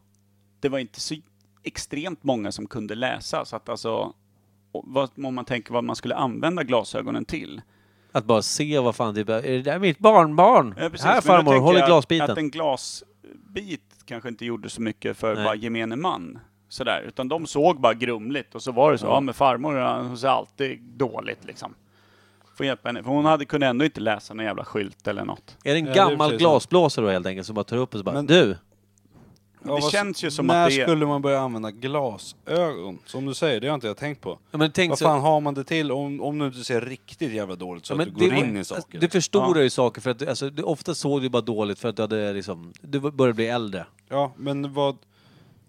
Speaker 3: det var inte så extremt många som kunde läsa, så att alltså, och vad, om man tänker vad man skulle använda glasögonen till.
Speaker 1: Att bara se vad fan, typ, är det där mitt barnbarn?
Speaker 3: Ja, precis,
Speaker 1: Här
Speaker 3: men då
Speaker 1: farmor,
Speaker 3: tänker
Speaker 1: håll i
Speaker 3: jag
Speaker 1: glasbiten.
Speaker 3: Att en glasbit kanske inte gjorde så mycket för
Speaker 1: Nej.
Speaker 3: bara gemene man. Sådär, utan de såg bara grumligt och så var det så, ja, men farmor hon ser alltid dåligt liksom. Får hjälpa henne, för hon hade kunnat ändå inte läsa någon jävla skylt eller något.
Speaker 1: Är det en
Speaker 2: Ja, det är
Speaker 1: gammal
Speaker 2: precis sant.
Speaker 1: glasblåsare då helt enkelt som bara tar upp och så bara
Speaker 2: Men-
Speaker 1: du,
Speaker 2: Ja,
Speaker 3: det
Speaker 2: vad-
Speaker 3: känns ju som
Speaker 2: när
Speaker 3: att det är...
Speaker 2: skulle man börja använda glasögon? Som du säger, det har inte jag tänkt på.
Speaker 1: ja, men tänk
Speaker 2: Vad
Speaker 1: så-
Speaker 2: fan har man det till om, om du inte ser riktigt jävla dåligt så
Speaker 1: Ja,
Speaker 2: att
Speaker 1: men
Speaker 2: du går
Speaker 1: det-
Speaker 2: in i
Speaker 1: alltså,
Speaker 2: saker? liksom.
Speaker 1: Du förstorar ju saker för att alltså, du, ofta såg du bara dåligt för att du hade liksom, du började bli äldre.
Speaker 2: Ja, men vad...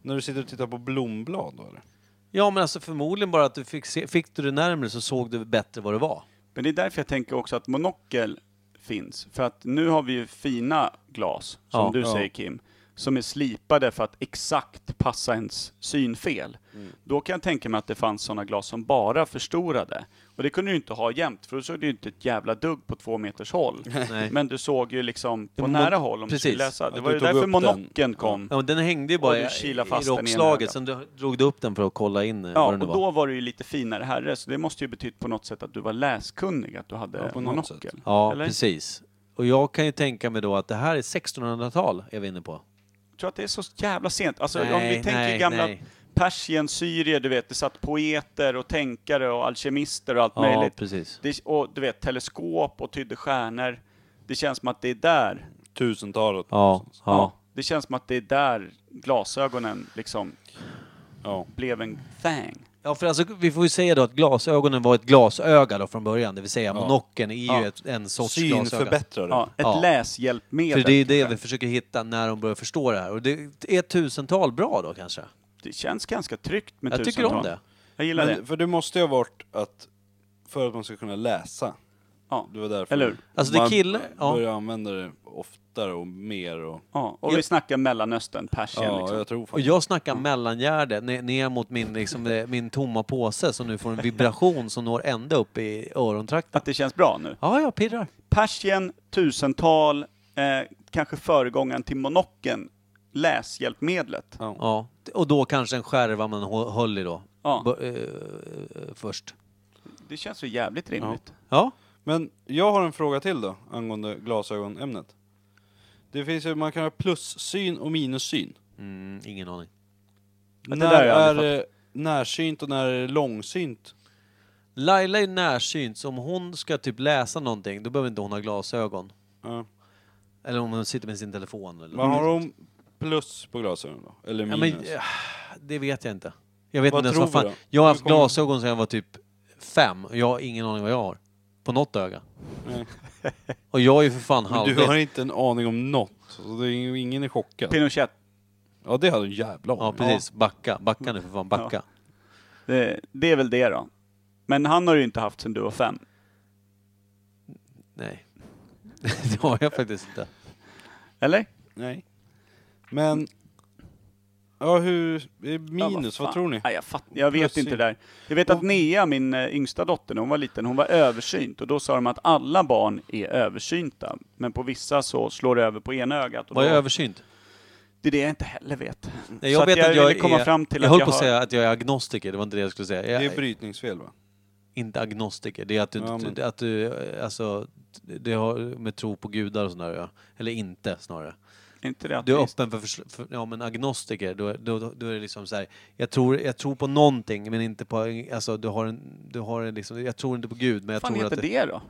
Speaker 2: När du sitter och tittar på blomblad då eller?
Speaker 1: Ja men alltså förmodligen bara att du fick, se, fick du det närmare så såg du bättre vad det var.
Speaker 3: Men det är därför jag tänker också att monokel finns. För att nu har vi ju fina glas, som
Speaker 1: Ja.
Speaker 3: du
Speaker 2: Ja.
Speaker 3: säger Kim, som är slipade för att exakt passa ens synfel. Då kan jag tänka mig att det fanns sådana glas som bara förstorade. Och det kunde du ju inte ha jämt, för då såg du ju inte ett jävla dugg på två meters håll.
Speaker 1: Nej.
Speaker 3: Men du såg ju liksom på
Speaker 2: mon-
Speaker 3: nära håll om du skulle
Speaker 1: Precis.
Speaker 3: läsa. Det
Speaker 2: Att
Speaker 3: var
Speaker 2: du
Speaker 3: ju
Speaker 2: tog upp
Speaker 3: därför
Speaker 2: den.
Speaker 3: monokeln kom.
Speaker 1: Ja, men den hängde ju
Speaker 3: Och
Speaker 1: bara
Speaker 3: du
Speaker 1: i,
Speaker 3: kilade
Speaker 1: i
Speaker 3: fast den i
Speaker 1: rockslaget,
Speaker 3: ögat.
Speaker 1: sen du, drog du upp den för att kolla in eh,
Speaker 3: Ja,
Speaker 1: vad
Speaker 3: och
Speaker 1: det nu var.
Speaker 3: då var du ju lite finare herre, så det måste ju betytt på något sätt att du var läskunnig, att du hade
Speaker 2: Ja, på något sätt.
Speaker 3: monokel.
Speaker 1: Ja,
Speaker 3: Eller?
Speaker 1: precis. Och jag kan ju tänka mig då att det här är 1600-tal är vi inne på.
Speaker 3: tror att det är så jävla sent. Alltså om
Speaker 1: Nej,
Speaker 3: vi tänker
Speaker 1: nej,
Speaker 3: gamla
Speaker 1: nej.
Speaker 3: Persien, Syrien, du vet, det satt poeter och tänkare och alkemister och allt
Speaker 1: Ja,
Speaker 3: möjligt.
Speaker 1: precis.
Speaker 3: Det, och du vet, teleskop och tydde stjärnor. Det känns som att det är där.
Speaker 2: Tusentalet.
Speaker 1: Ja, ja.
Speaker 3: Det känns som att det är där glasögonen liksom
Speaker 2: ja.
Speaker 3: blev en thing.
Speaker 1: Ja, för alltså, vi får ju säga då att glasögonen var ett glasöga då från början, det vill säga monokeln är ju
Speaker 3: Ja.
Speaker 1: ett, en sorts glasöga.
Speaker 2: Synförbättrare.
Speaker 3: Ja, ett
Speaker 1: Ja.
Speaker 3: läshjälpmedel.
Speaker 1: För det är det
Speaker 3: kanske.
Speaker 1: vi försöker hitta när de börjar förstå det här. Och det är tusental bra då kanske?
Speaker 3: det känns ganska tryggt med
Speaker 1: Jag tycker
Speaker 3: tusental.
Speaker 1: om det.
Speaker 3: Jag gillar
Speaker 2: Men,
Speaker 3: det.
Speaker 2: för det måste ju ha varit att för att man ska kunna läsa.
Speaker 3: Ja.
Speaker 2: Det var därför
Speaker 3: Eller hur?
Speaker 1: Alltså, det
Speaker 2: man
Speaker 1: killar- ja.
Speaker 2: börjar använda det oftare och mer. Och,
Speaker 3: Ja, och
Speaker 1: Ja.
Speaker 3: vi snackar Mellanöstern, Persien
Speaker 2: ja,
Speaker 3: liksom.
Speaker 2: jag tror
Speaker 1: Och
Speaker 2: faktiskt.
Speaker 1: jag snackar mellangärde ne- ner mot min, liksom, eh, min tomma påse som nu får en vibration som når ända upp i örontrakten.
Speaker 3: Att det känns bra nu.
Speaker 1: Ja, jag pirrar.
Speaker 3: Persien, tusental, eh, kanske föregångaren till monocken, läshjälpmedlet.
Speaker 1: Ja. Och då kanske en skärva man hå- höll i då.
Speaker 3: Ja.
Speaker 1: B- eh, först.
Speaker 3: Det känns så jävligt rimligt.
Speaker 1: Ja.
Speaker 2: Men jag har en fråga till då, angående glasögonämnet. Det finns ju, man kan ha plussyn och minussyn.
Speaker 1: Mm, ingen aning.
Speaker 3: det
Speaker 2: när
Speaker 3: där har jag
Speaker 2: är
Speaker 3: aldrig
Speaker 2: det närsynt och när är det långsynt?
Speaker 1: Laila är närsynt, så om hon ska typ läsa någonting, då behöver inte hon ha glasögon.
Speaker 2: Ja.
Speaker 1: Eller om hon sitter med sin telefon. Eller
Speaker 2: Vad har de plus på glasögonen då? Eller
Speaker 1: Mm. Ja,
Speaker 2: minus?
Speaker 1: men, eh, det vet jag inte. Jag vet
Speaker 2: Vad
Speaker 1: inte ens vad fan.
Speaker 2: tror vi då?
Speaker 1: Jag har haft
Speaker 2: Hur kommer-
Speaker 1: glasögon sedan jag var typ fem och jag har ingen aning vad jag har. På något öga.
Speaker 2: Nej.
Speaker 1: Och jag är ju för fan
Speaker 2: Men du har
Speaker 1: halvblind.
Speaker 2: inte en aning om något, så det är ingen, ingen är chockad.
Speaker 3: Pinochet,
Speaker 2: Ja, det hade en jävla aning.
Speaker 1: Ja, precis. Backa. Backa nu för fan. Backa.
Speaker 3: det, det är väl det då. Men han har du ju inte haft sedan du var fem.
Speaker 1: Nej. det har jag faktiskt inte.
Speaker 3: Eller?
Speaker 2: Nej. Men... Ja, hur... det är
Speaker 3: Ja,
Speaker 2: Minus,
Speaker 3: fan.
Speaker 2: vad tror ni?
Speaker 3: Nej, jag, fatt, jag vet
Speaker 2: Plussyn.
Speaker 3: inte det där. Jag vet att Nea, min eh, yngsta dotter, när hon var liten, hon var översynt. Och då sa de att alla barn är översynta. Men på vissa så slår det över på ena ögat. Och
Speaker 1: Var jag
Speaker 3: då-
Speaker 1: översynt?
Speaker 3: Det är det jag inte heller vet.
Speaker 1: Nej,
Speaker 3: Så
Speaker 1: jag vet att jag
Speaker 3: ville komma
Speaker 1: är...
Speaker 3: fram till
Speaker 1: jag
Speaker 3: att
Speaker 1: höll
Speaker 3: jag
Speaker 1: på att
Speaker 3: har-
Speaker 1: säga att jag är agnostiker, det var inte det jag skulle säga. Jag
Speaker 2: Det
Speaker 1: är
Speaker 2: är brytningsfel va?
Speaker 1: inte agnostiker, det är att du,
Speaker 2: Ja, men-
Speaker 1: att du eh, alltså, det har med tro på gudar och sådär ja. Eller inte snarare.
Speaker 3: Är inte det
Speaker 1: Du är
Speaker 3: ateist?
Speaker 1: öppen för, förs- för ja men agnostiker, då, då, då, då är det liksom så här, jag tror, jag tror på någonting men inte på, alltså du har en, du har en liksom, jag tror inte på gud men jag
Speaker 3: Vad fan
Speaker 1: tror att
Speaker 3: heter det då?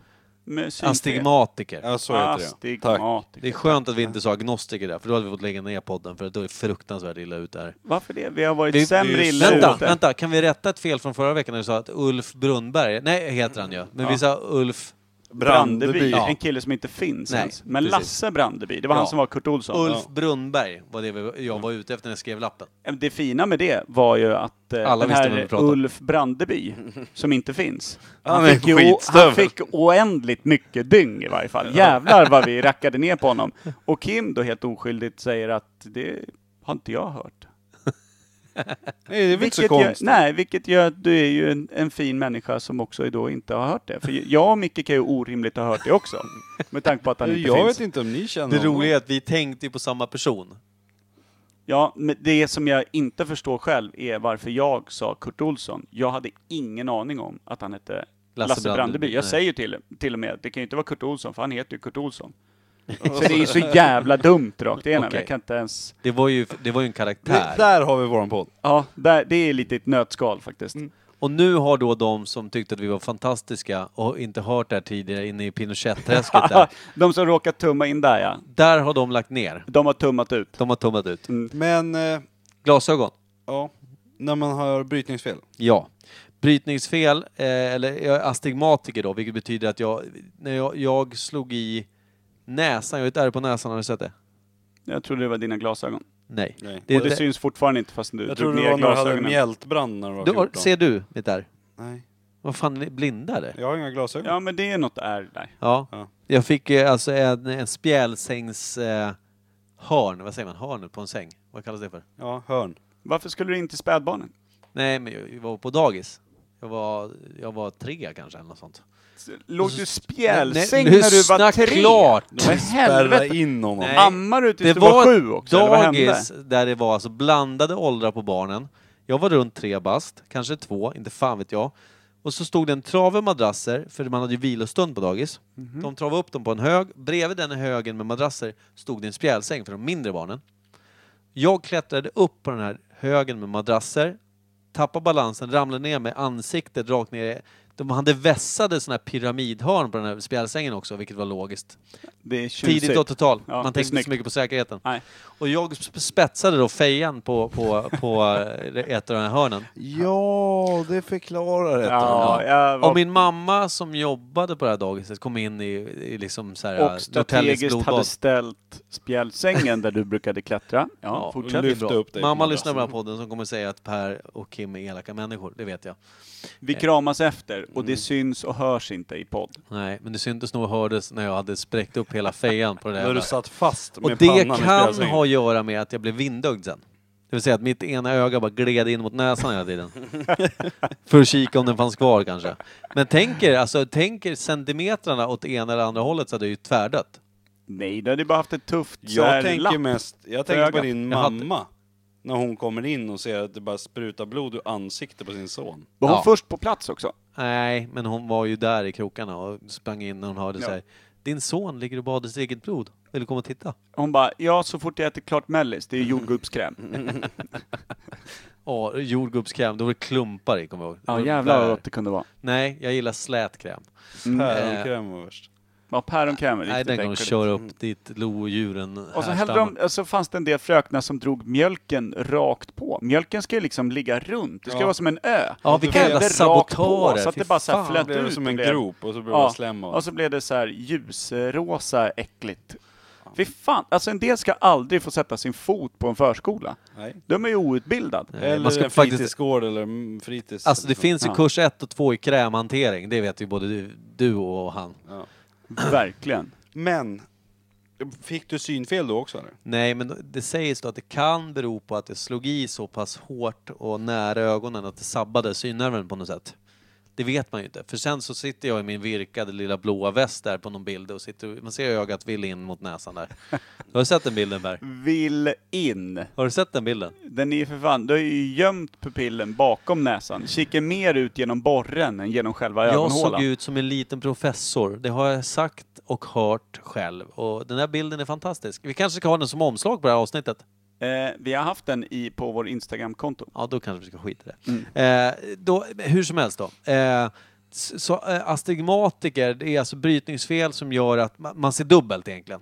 Speaker 3: Med synfel-
Speaker 1: Astigmatiker.
Speaker 2: Ja, så heter det. ja. Tack.
Speaker 3: Astigmatiker.
Speaker 1: Det är skönt att vi inte sa agnostiker där, för då hade vi fått lägga ner podden, för då är det fruktansvärt illa ut där.
Speaker 3: Varför det? Vi har varit
Speaker 1: Vi-
Speaker 3: sämre
Speaker 2: vi-
Speaker 3: illa
Speaker 1: Vänta,
Speaker 3: ute.
Speaker 1: vänta, kan vi rätta ett fel från förra veckan när du sa att Ulf Brunnberg, nej heter han ju, men vi sa Ulf
Speaker 3: Brandeby,
Speaker 1: Ja.
Speaker 3: en kille som inte finns
Speaker 1: Nej,
Speaker 3: ens. Men
Speaker 1: precis.
Speaker 3: Lasse Brandeby, det var
Speaker 1: Ja.
Speaker 3: han som var Kurt Olsson.
Speaker 1: Ulf Brunnberg var det vi- jag var ute efter när jag skrev lappen.
Speaker 3: Det fina med det var ju att eh,
Speaker 1: Alla
Speaker 3: den
Speaker 1: visste vem vi
Speaker 3: här
Speaker 1: pratade om.
Speaker 3: Ulf Brandeby, som inte finns,
Speaker 2: Han är
Speaker 3: fick, ju o-
Speaker 2: skitstövel.
Speaker 3: han fick oändligt mycket dyng i varje fall. Jävlar vad vi rackade ner på honom. Och Kim då helt oskyldigt säger att det har inte jag hört.
Speaker 2: Nej, det är väl inte så
Speaker 3: gör,
Speaker 2: konstigt?
Speaker 3: nej, vilket gör att du är ju en, en fin människa som också då inte har hört det. För jag och Micke kan ju orimligt ha hört det också. Med tanke på att han inte
Speaker 2: jag
Speaker 3: finns.
Speaker 2: vet inte om ni känner
Speaker 1: Det
Speaker 2: honom.
Speaker 1: roliga är att vi tänkte ju på samma person.
Speaker 3: Ja, men det som jag inte förstår själv är varför jag sa Kurt Olsson. Jag hade ingen aning om att han hette Lasse, Brandeby. Jag
Speaker 1: Nej.
Speaker 3: säger ju till, till och med att det kan ju inte vara Kurt Olsson, för han heter ju Kurt Olsson. Så det är ju så jävla dumt rakt igenom.
Speaker 1: Okej.
Speaker 3: Jag kan inte ens...
Speaker 1: Det var ju, det var ju en
Speaker 2: Det,
Speaker 1: karaktär.
Speaker 2: där har vi våran podd.
Speaker 3: Ja, där, det är lite ett nötskal faktiskt.
Speaker 2: Mm.
Speaker 1: Och nu har då de som tyckte att vi var fantastiska och inte hört det här tidigare inne i Pinochet-träsket där,
Speaker 3: de som råkar tumma in där ja,
Speaker 1: där har de lagt ner.
Speaker 3: de har tummat ut.
Speaker 1: De har tummat ut.
Speaker 2: Men, eh,
Speaker 1: Glasögon?
Speaker 2: ja. När man har brytningsfel.
Speaker 1: Ja. Brytningsfel, eh, eller jag är astigmatiker då, vilket betyder att jag, när jag, jag slog i näsan, jag har ett ärr på näsan, har du sett det?
Speaker 3: Jag trodde det var dina glasögon.
Speaker 1: Nej.
Speaker 2: Nej.
Speaker 1: Det,
Speaker 3: och det,
Speaker 1: det,
Speaker 3: syns fortfarande inte fast du
Speaker 2: Jag
Speaker 3: drog
Speaker 2: tror det
Speaker 3: ner
Speaker 2: var när du hade
Speaker 3: glasögonen.
Speaker 2: mjältbrand när du var
Speaker 1: du,
Speaker 2: 14.
Speaker 1: ser du mitt ärr?
Speaker 2: Nej,
Speaker 1: Vad fan, är ni blinda eller?
Speaker 2: jag har inga glasögon.
Speaker 3: Ja, men det är något är där.
Speaker 1: Ja.
Speaker 2: Ja.
Speaker 1: Jag fick eh, alltså en, en spjälsängs... Eh, hörn, vad säger man? Hörnet på en säng? Vad kallas det för?
Speaker 2: Ja, hörn.
Speaker 3: Varför skulle du inte spädbarnen?
Speaker 1: Nej, men jag jag var på dagis. Jag var, jag var tre kanske, eller något sånt.
Speaker 3: Låg du spjälsäng
Speaker 1: Nej, nu
Speaker 3: när du var
Speaker 1: snack
Speaker 3: tre?
Speaker 1: klart!
Speaker 2: De spärrar
Speaker 3: Helvete!
Speaker 2: in honom.
Speaker 1: Nej.
Speaker 3: Ammar du tills
Speaker 1: Det
Speaker 3: du var,
Speaker 1: var
Speaker 3: sju också? eller vad hände?
Speaker 1: Dagis där det var alltså blandade åldrar på barnen. Jag var runt tre bast, kanske två, inte fan vet jag. Och så stod det en trave madrasser, för man hade ju vilostund på dagis.
Speaker 3: Mhm.
Speaker 1: De travade upp dem på en hög. Bredvid den högen med madrasser stod det en spjälsäng för de mindre barnen. Jag klättrade upp på den här högen med madrasser, tappade balansen, ramlade ner med ansiktet rakt ner. i- De hade vässade såna här pyramidhörn på den här spjälsängen också, vilket var logiskt.
Speaker 3: Det är tjusigt.
Speaker 1: Tidigt 80-tal.
Speaker 3: Ja, det är
Speaker 1: Man tänkte inte
Speaker 3: snyggt.
Speaker 1: så mycket på säkerheten.
Speaker 3: Nej.
Speaker 1: Och jag sp- spetsade då fejan på, på, på eh, ett av de här hörnen.
Speaker 2: Ja, det förklarar det.
Speaker 3: Ja, jag var...
Speaker 1: Och min mamma som jobbade på det här dagiset kom in i, i liksom så här, eh,
Speaker 3: och
Speaker 1: Norrtäljes
Speaker 3: strategiskt
Speaker 1: blodbad.
Speaker 3: hade ställt spjälsängen där du brukade klättra. Ja,
Speaker 1: Ja,
Speaker 2: det är
Speaker 3: fortsätt.
Speaker 1: det är
Speaker 2: lyfta
Speaker 1: bra.
Speaker 2: upp dig på
Speaker 1: Mamma
Speaker 2: madrassen.
Speaker 1: lyssnar på den här podden som kommer säga att Per och Kim är elaka människor, det vet jag.
Speaker 3: Vi kramas efter och
Speaker 1: Mm.
Speaker 3: det syns och hörs inte i podd.
Speaker 1: Nej, men det syntes nog och hördes när jag hade spräckt upp hela fejan på det där.
Speaker 2: När du
Speaker 1: jävla-
Speaker 2: satt fast med
Speaker 1: Och det
Speaker 2: pannan i
Speaker 1: kan
Speaker 2: spjälsängen.
Speaker 1: ha att göra med att jag blev vindögd sen. Det vill säga att mitt ena öga bara gled in mot näsan hela tiden. För att kika om den fanns kvar kanske. Men tänker, alltså, tänker centimetrarna åt ena eller andra hållet så hade jag ju tvärdött.
Speaker 3: Nej, du hade bara haft ett tufft så här
Speaker 2: Jag tänker
Speaker 3: lapp.
Speaker 2: mest, jag tänker på
Speaker 3: ögat.
Speaker 2: din
Speaker 1: Jag hade-
Speaker 2: mamma. När hon kommer in och ser att det bara sprutar blod ur ansiktet på sin son.
Speaker 3: Var hon
Speaker 1: Ja.
Speaker 3: först på plats också?
Speaker 1: Nej, men hon var ju där i krokarna och sprang in när hon hörde
Speaker 3: Ja.
Speaker 1: så här. Din son ligger och badar sitt eget blod. Vill du komma och titta?
Speaker 3: Hon bara, ja så fort jag äter klart mellis, det är ju
Speaker 1: Mm.
Speaker 3: jordgubbskräm.
Speaker 1: Ja, jordgubbskräm. Då var det klumpar i, kommer jag ihåg. Det
Speaker 3: Ja
Speaker 1: var
Speaker 3: jävlar vad
Speaker 1: värre.
Speaker 3: gott det kunde vara.
Speaker 1: Nej, jag gillar slät kräm.
Speaker 2: Päronkräm var värst.
Speaker 3: Ja päronkräm är
Speaker 1: Nej,
Speaker 3: riktigt
Speaker 1: den kan de
Speaker 3: äckligt.
Speaker 2: Mm.
Speaker 1: köra upp dit lodjuren
Speaker 3: Och så, hällde
Speaker 1: härstammar.
Speaker 3: de, och så fanns det en del fröknar som drog mjölken rakt på. Mjölken ska ju liksom ligga runt, det ska
Speaker 2: Ja.
Speaker 3: vara som en ö.
Speaker 1: Ja,
Speaker 3: Och
Speaker 1: vilka
Speaker 3: det
Speaker 1: jävla
Speaker 3: hällde rakt på,
Speaker 1: sabotörer.
Speaker 3: Så att
Speaker 1: Fy
Speaker 3: det bara så här
Speaker 1: fan,
Speaker 3: flöt
Speaker 2: Blev det Alltså-
Speaker 3: ut
Speaker 2: som
Speaker 3: och
Speaker 2: en
Speaker 3: blev-
Speaker 2: grop och så blev det
Speaker 3: Ja,
Speaker 2: bara slem av
Speaker 3: och så blev det så här ljusrosa äckligt. Fy fan, alltså en del ska aldrig få sätta sin fot på en förskola.
Speaker 2: Nej.
Speaker 3: De är ju outbildad.
Speaker 1: Nej,
Speaker 2: Eller
Speaker 1: man ska
Speaker 2: en
Speaker 1: faktiskt-
Speaker 2: fritidsgård eller mm, fritids.
Speaker 1: Alltså det finns ju
Speaker 3: Ja.
Speaker 1: kurs 1 och 2 i krämhantering, det vet ju både du, du och han.
Speaker 3: Verkligen.
Speaker 2: Men, fick du synfel då också eller?
Speaker 1: Nej, men det sägs då att det kan bero på att det slog i så pass hårt och nära ögonen att det sabbade synnerven på något sätt. Det vet man ju inte, för sen så sitter jag i min virkade lilla blåa väst där på någon bild och sitter, man ser ögat vill in mot näsan där. Har du sett den bilden Berg?
Speaker 3: Vill in.
Speaker 1: Har du sett den bilden?
Speaker 3: Den är ju för fan, du har ju gömt pupillen bakom näsan. Kikar mer ut genom borren än genom själva
Speaker 1: Jag såg
Speaker 3: ögonhålan.
Speaker 1: ut som en liten professor, det har jag sagt och hört själv. Och den här bilden är fantastisk. Vi kanske ska ha den som omslag på det här avsnittet.
Speaker 3: Eh, vi har haft den i, på vår Instagram-konto.
Speaker 1: Ja, då kanske vi ska skita i det. Eh, då, hur som helst då. Eh, s- så, eh, astigmatiker, det är alltså brytningsfel som gör att ma- man ser dubbelt egentligen.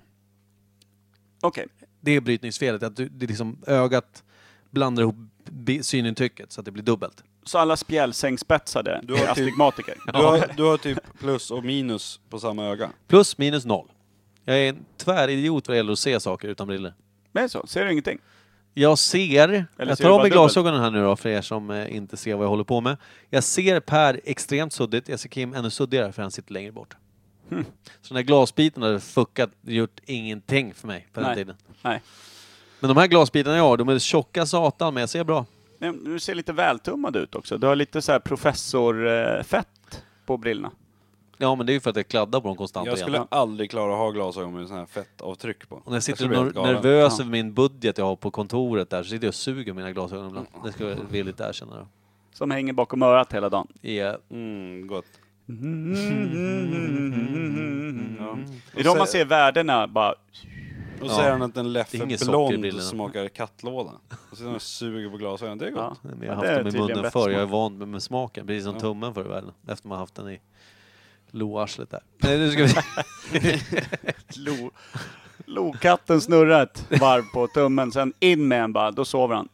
Speaker 3: Okej,
Speaker 1: Det är brytningsfelet, att du, det är liksom ögat blandar ihop bi- synintrycket så att det blir dubbelt.
Speaker 3: så alla spjälsängsspetsade
Speaker 2: Du har
Speaker 3: är
Speaker 2: typ-
Speaker 3: astigmatiker.
Speaker 2: Du har, du har typ plus och minus på samma öga.
Speaker 1: Plus minus noll. Jag är en tväridiot vad det gäller att se saker utan briller.
Speaker 3: Men det är så, ser du ingenting?
Speaker 1: Jag ser,
Speaker 3: Eller
Speaker 1: jag
Speaker 3: ser du
Speaker 1: tar av
Speaker 3: bara
Speaker 1: mig
Speaker 3: dubbelt?
Speaker 1: glasögonen här nu då för er som eh, inte ser vad jag håller på med. Jag ser Per extremt suddigt, jag ser Kim ännu suddigare för han sitter längre bort.
Speaker 2: Hm.
Speaker 1: Så den här glasbiten hade fuckat, gjort ingenting för mig på den
Speaker 3: Nej.
Speaker 1: tiden.
Speaker 3: Nej.
Speaker 1: Men de här glasbitarna jag har, de är tjocka satan men jag ser bra.
Speaker 3: Nej, men Du ser lite vältummad ut också. Du har lite så här professorfett på brillorna.
Speaker 1: Ja men det är ju för att jag kladdar på dem konstant
Speaker 2: Jag
Speaker 1: och
Speaker 2: skulle
Speaker 1: jämt.
Speaker 2: aldrig klara att ha glasögon med sån här fettavtryck på.
Speaker 1: Och när jag sitter
Speaker 2: skulle bli helt
Speaker 1: ner-
Speaker 2: galen.
Speaker 1: nervös
Speaker 3: Ja.
Speaker 1: över min budget jag har på kontoret där så sitter jag och suger mina glasögon ibland. Det skulle jag villigt erkänna då.
Speaker 3: Som hänger bakom örat hela dagen.
Speaker 1: Yeah.
Speaker 2: Mm, gott.
Speaker 1: Mm.
Speaker 3: Det är då man ser värdena bara...
Speaker 2: Och så säger han att en
Speaker 1: Det är
Speaker 2: Leffe
Speaker 1: inget socker i
Speaker 2: Blond
Speaker 1: bilderna.
Speaker 2: smakar kattlåda. Och så sitter han och suger på glasögonen. Det är gott.
Speaker 3: Ja,
Speaker 1: Jag har
Speaker 3: det är
Speaker 1: haft dem i
Speaker 3: tydligen
Speaker 1: munnen
Speaker 3: rätt
Speaker 1: förr, jag är
Speaker 3: smak.
Speaker 1: van med, med smaken. Precis som tummen förr i världen. Efter man haft den i loarslet där. Nej, nu ska vi...
Speaker 3: Lo, lokatten snurrar ett varv på tummen, sen in med en bara, då sover han.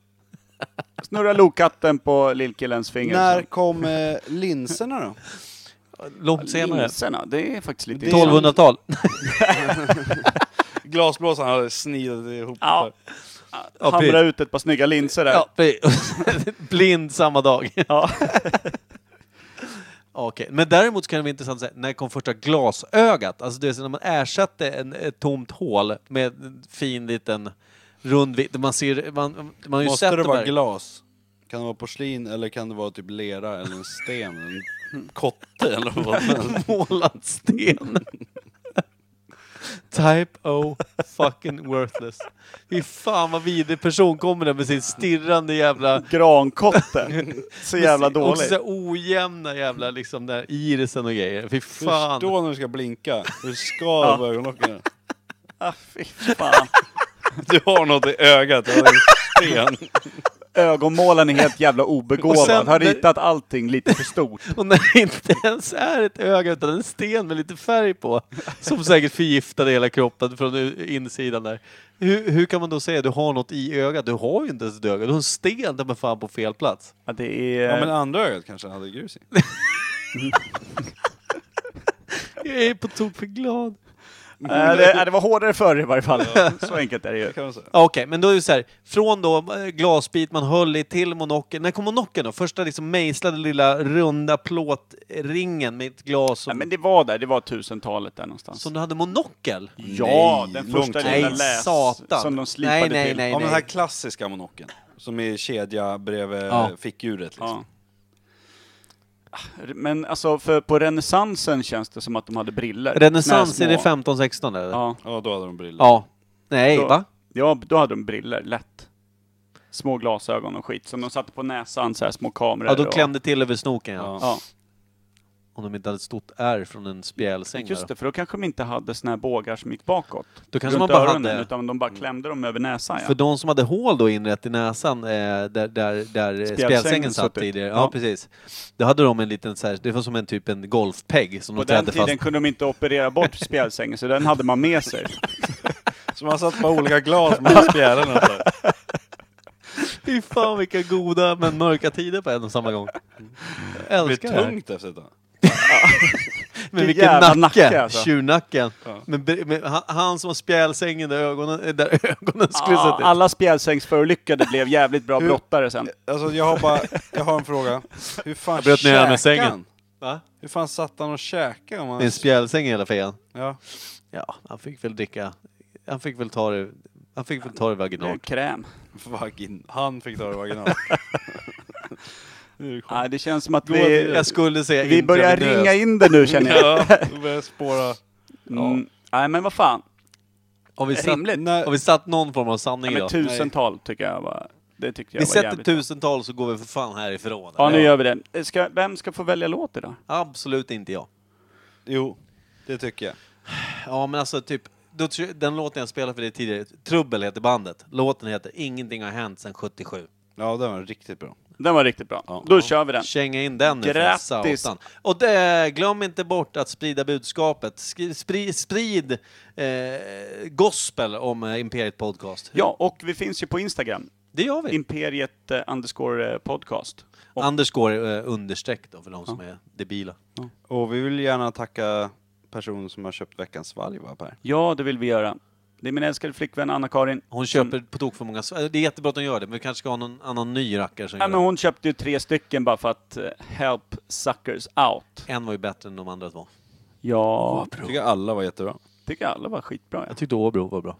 Speaker 3: Snurra lokatten på lillkillens finger.
Speaker 2: När kom eh, linserna då?
Speaker 1: Långt senare.
Speaker 3: Linserna, det är faktiskt lite...
Speaker 1: 1200-tal.
Speaker 2: Glasblåsaren hade snidat ihop.
Speaker 3: Ja.
Speaker 1: Ja,
Speaker 3: Hamra
Speaker 1: precis.
Speaker 3: ut ett par snygga linser där.
Speaker 1: Ja, precis. Blind samma dag.
Speaker 3: Ja.
Speaker 1: Okej, men däremot så kan det vara intressant att säga, när kom första glasögat? Alltså det är så när man ersatte en, ett tomt hål med en fin liten rund vit- Man ser, man, man har ju
Speaker 2: Måste
Speaker 1: sett
Speaker 2: det
Speaker 1: de
Speaker 2: vara
Speaker 1: här.
Speaker 2: glas? Kan det vara porslin eller kan det vara typ lera eller en sten? eller En kotte eller vad som helst?
Speaker 1: målad sten. Type O fucking worthless. Fy fan vad vidrig person kommer där med sin stirrande jävla...
Speaker 3: Grankotte. Så jävla
Speaker 1: Och
Speaker 3: dålig.
Speaker 1: så ojämna jävla liksom där irisen och grejer. Fy fan.
Speaker 2: Förstå när du ska blinka. Du ska på ögonlocken.
Speaker 3: Ah, fy fan.
Speaker 2: Du har något i ögat. Jag har en sten.
Speaker 3: Ögonmålaren är helt jävla obegåvad.
Speaker 1: Och sen-
Speaker 3: Har ritat allting lite för stort.
Speaker 1: Och när det inte ens är ett öga utan en sten med lite färg på. Som säkert förgiftade hela kroppen från u- insidan där. Hur, hur kan man då säga att du har något i ögat? Du har ju inte ens ett öga. Du har en sten där med fan på fel plats.
Speaker 3: Ja, det är...
Speaker 1: Eh,
Speaker 2: Ja men andra ögat kanske hade grus i.
Speaker 1: Jag är på tok för glad.
Speaker 3: Eh, det, eh, det var hårdare förr i varje fall. Så enkelt är det ju.
Speaker 2: kan man säga.
Speaker 1: Ja, Okej, men då är det så här, från då eh, glasbit man höll i till monokeln. När kom monokeln då? Första liksom mejslade lilla runda plåtringen med ett glas
Speaker 3: Ja,
Speaker 1: som,
Speaker 3: men det var där, det var 1000-talet där någonstans.
Speaker 1: som du hade monokel?
Speaker 3: ja,
Speaker 2: Nej,
Speaker 3: den
Speaker 2: långt
Speaker 3: första
Speaker 2: tidigare.
Speaker 3: lilla
Speaker 1: Nej,
Speaker 3: läs
Speaker 1: satan.
Speaker 3: som de slipade
Speaker 1: Nej, nej,
Speaker 3: till.
Speaker 1: nej.
Speaker 2: Ja, men den här klassiska monocken som är kedja bredvid
Speaker 1: Ja.
Speaker 2: fickuret. Liksom.
Speaker 3: Ja. Ah, Men alltså, för på renässansen känns det som att de hade briller.
Speaker 1: Renässans,
Speaker 3: När
Speaker 1: är det
Speaker 3: små.
Speaker 1: 15-16 eller?
Speaker 3: Ja.
Speaker 2: Ja, då hade de briller.
Speaker 1: Ja. Nej,
Speaker 3: Då-
Speaker 1: va?
Speaker 3: ja, då hade de briller, lätt. Små glasögon och skit som de satte på näsan, så här små kameror.
Speaker 1: Ja, då
Speaker 3: och-
Speaker 1: klämde till över snoken ja.
Speaker 2: Ja.
Speaker 3: Ja,
Speaker 1: Om de inte hade ett stort R från en spjälsäng
Speaker 3: just
Speaker 1: Just
Speaker 3: det, för då kanske de inte hade såna här bågar som gick bakåt.
Speaker 1: Då kanske man
Speaker 3: runt
Speaker 1: bara
Speaker 3: öronen,
Speaker 1: hade...
Speaker 3: Utan de bara klämde dem över näsan, ja.
Speaker 1: För de som hade hål då inrätt i näsan, eh, där, där, där eh, spjälsängen satt
Speaker 3: satt ut.
Speaker 1: tidigare, ja,
Speaker 3: Ja.
Speaker 1: precis. Då hade de en liten så här, det var som en typ en golfpegg som
Speaker 3: På
Speaker 1: de
Speaker 3: den
Speaker 1: trädde
Speaker 3: tiden
Speaker 1: fast.
Speaker 3: kunde de inte operera bort spjälsängen, så den hade man med sig.
Speaker 2: Så man satt på olika glas med spjälarna. så här.
Speaker 1: Fy fan vilka goda men mörka tider på en och samma gång. Jag
Speaker 2: Det blir
Speaker 1: älskar det här.
Speaker 2: tungt efter ett tag.
Speaker 1: Men vilken
Speaker 3: jävla
Speaker 1: nacke!
Speaker 3: nacke, alltså.
Speaker 1: Tjurnacken. Men, bre- men han, han som har spjälsängen där ögonen, eh, där ögonen skulle
Speaker 3: Ah,
Speaker 1: suttit.
Speaker 3: alla spjälsängsförolyckade blev jävligt bra brottare sen.
Speaker 2: Alltså jag har bara, jag har en fråga. Hur fan
Speaker 1: bröt ner den
Speaker 2: käkade
Speaker 1: med sängen.
Speaker 2: han?
Speaker 1: Va?
Speaker 2: Hur fan satt han och käkade? Om han...
Speaker 1: Det är en spjälsäng i hela fejan.
Speaker 2: ja.
Speaker 1: Ja, han fick väl dricka, han fick väl ta det, han fick väl ta det vaginalt.
Speaker 3: Kräm.
Speaker 2: Vagin. Han fick ta det vaginalt.
Speaker 3: Ah, det känns som att
Speaker 1: Jag-
Speaker 3: vi,
Speaker 1: Jag skulle säga
Speaker 3: vi börjar
Speaker 1: intravenöst.
Speaker 3: ringa in det nu känner jag.
Speaker 2: ja, då började jag spåra.
Speaker 3: Mm. Nej men vad fan.
Speaker 1: Har vi, satt,
Speaker 3: Rimligt.
Speaker 1: har vi satt någon form av sanning
Speaker 3: Nej, men
Speaker 1: idag?
Speaker 3: tusental tycker jag var, det tyckte jag
Speaker 1: Vi
Speaker 3: var
Speaker 1: sätter
Speaker 3: jävligt bra.
Speaker 1: tusental så går vi för fan härifrån.
Speaker 3: Ja nu
Speaker 1: eller?
Speaker 3: gör vi det. Ska, vem ska få välja låt idag?
Speaker 1: Absolut inte jag.
Speaker 2: Jo, det tycker jag.
Speaker 1: Ja men alltså typ, då, tr- den låten jag spelade för dig tidigare, Trubbel heter bandet. Låten heter Ingenting har hänt sedan 77.
Speaker 2: Ja, den var riktigt bra.
Speaker 3: Den var riktigt bra. Då kör vi den.
Speaker 1: Känga in den nu för
Speaker 3: Grattis.
Speaker 1: satan. Och det, glöm inte bort att sprida budskapet. Skri, sprid sprid eh, gospel om eh, Imperiet Podcast.
Speaker 3: Ja, och vi finns ju på Instagram.
Speaker 1: Det gör vi.
Speaker 3: Imperiet eh, underscore eh, podcast. Och,
Speaker 1: Anders går eh, understreck då för de som är debila.
Speaker 2: Och vi vill gärna tacka personen som har köpt veckans valg va Per?
Speaker 3: ja, det vill vi göra. Det är min älskade flickvän Anna-Karin.
Speaker 1: Hon köper på tok för många. s- eh, Det är jättebra att hon gör det, men vi kanske ska ha någon annan ny rackare som
Speaker 3: Ja,
Speaker 1: gör
Speaker 3: men
Speaker 1: det.
Speaker 3: hon köpte ju tre stycken bara för att eh, help suckers out.
Speaker 1: En var ju bättre än de andra två.
Speaker 3: Ja,
Speaker 2: Jag tycker alla var jättebra.
Speaker 3: tycker alla var skitbra. Jag
Speaker 1: Jag tyckte Åbro var bra.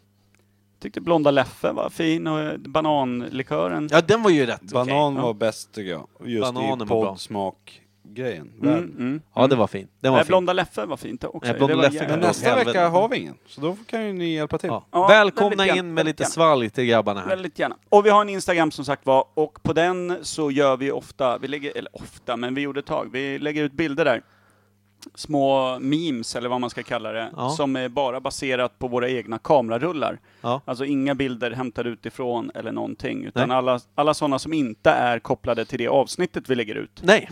Speaker 3: tyckte Blonda Leffe var fin och eh, bananlikören.
Speaker 1: Ja, den var ju rätt.
Speaker 2: Banan
Speaker 3: ja.
Speaker 2: var bäst tycker jag. Just
Speaker 1: Bananen
Speaker 2: i
Speaker 1: var bra.
Speaker 2: poddsmak-grejen.
Speaker 3: Mm,
Speaker 2: Världen.
Speaker 3: mm.
Speaker 1: Ja, det var fin. Den var
Speaker 3: Nej,
Speaker 1: fin.
Speaker 3: Blonda Leffe var fint också.
Speaker 1: Nej, Blonda
Speaker 3: Det var
Speaker 1: Leffe
Speaker 3: jävligt-
Speaker 2: Men
Speaker 1: Ja,
Speaker 2: nästa
Speaker 1: helvete.
Speaker 2: vecka har vi ingen, så då kan ju ni hjälpa till.
Speaker 1: Ja.
Speaker 3: Ja,
Speaker 1: Välkomna
Speaker 3: väldigt gärna,
Speaker 1: in med
Speaker 3: väldigt
Speaker 1: lite
Speaker 3: gärna.
Speaker 1: svalg till grabbarna här.
Speaker 3: Väldigt gärna. Och vi har en Instagram som sagt var, och på den så gör vi ofta, vi lägger, eller ofta, men vi gjorde ett tag, vi lägger ut bilder där. Små memes, eller vad man ska kalla det,
Speaker 1: Ja.
Speaker 3: som är bara baserat på våra egna kamerarullar.
Speaker 1: Ja.
Speaker 3: Alltså inga bilder hämtade utifrån eller någonting, utan
Speaker 1: Nej.
Speaker 3: alla, alla sådana som inte är kopplade till det avsnittet vi lägger ut,
Speaker 1: Nej,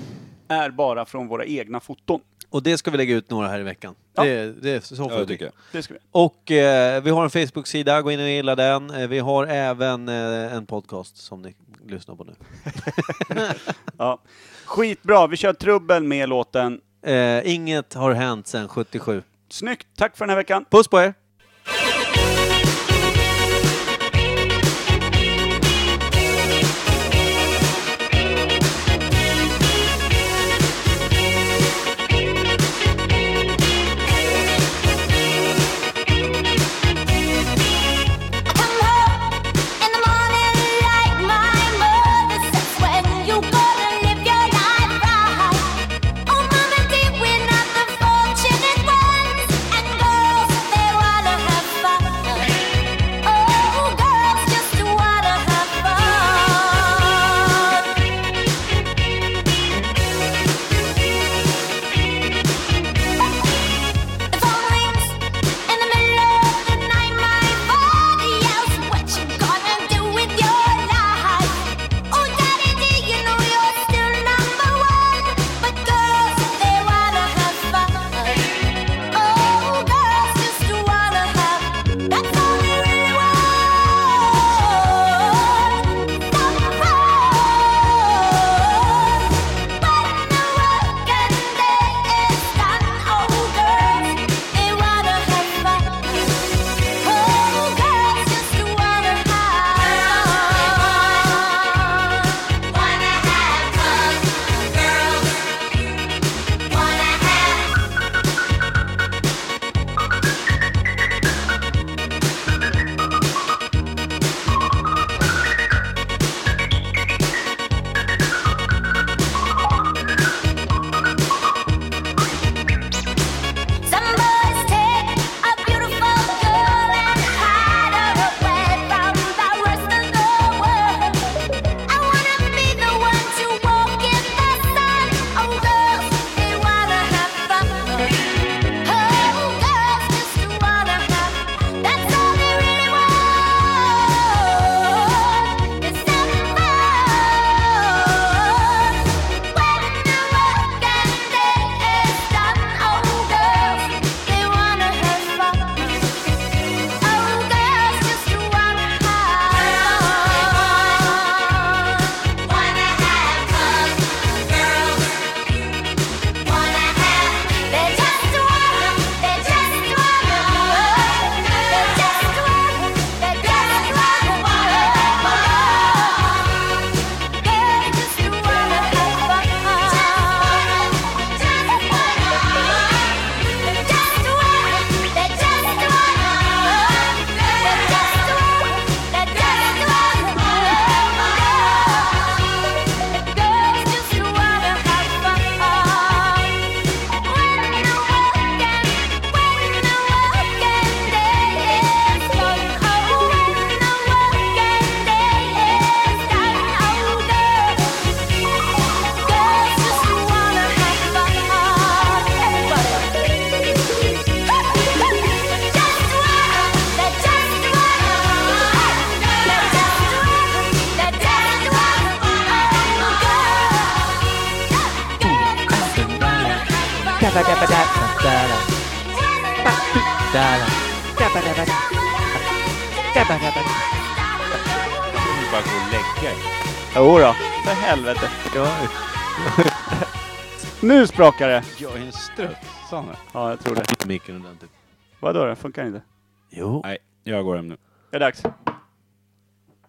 Speaker 3: är bara från våra egna foton.
Speaker 1: och det ska vi lägga ut några här i veckan.
Speaker 3: Ja.
Speaker 1: Det, det, så får
Speaker 2: Ja,
Speaker 1: det
Speaker 2: det
Speaker 1: bli.
Speaker 2: tycker jag.
Speaker 3: Det ska vi.
Speaker 1: Och eh, vi har en Facebook-sida, gå in och gilla den. Eh, vi har även eh, en podcast som ni lyssnar på nu.
Speaker 3: Ja. Skitbra, vi kör trubbel med låten.
Speaker 1: Eh, inget har hänt sedan 77.
Speaker 3: Snyggt, tack för den här veckan.
Speaker 1: Puss på er!
Speaker 8: Fortunate ones and girls, they are
Speaker 2: Du bara gå och lägga dig.
Speaker 3: Jo då. för helvete. Nu sprakar det!
Speaker 2: Jag är en struts, Sanne.
Speaker 3: Ja, jag tror det.
Speaker 2: typ.
Speaker 1: Micken ordentligt.
Speaker 3: Vadå då? Funkar inte?
Speaker 1: Jo.
Speaker 2: Nej, jag går hem nu.
Speaker 3: Det är dags.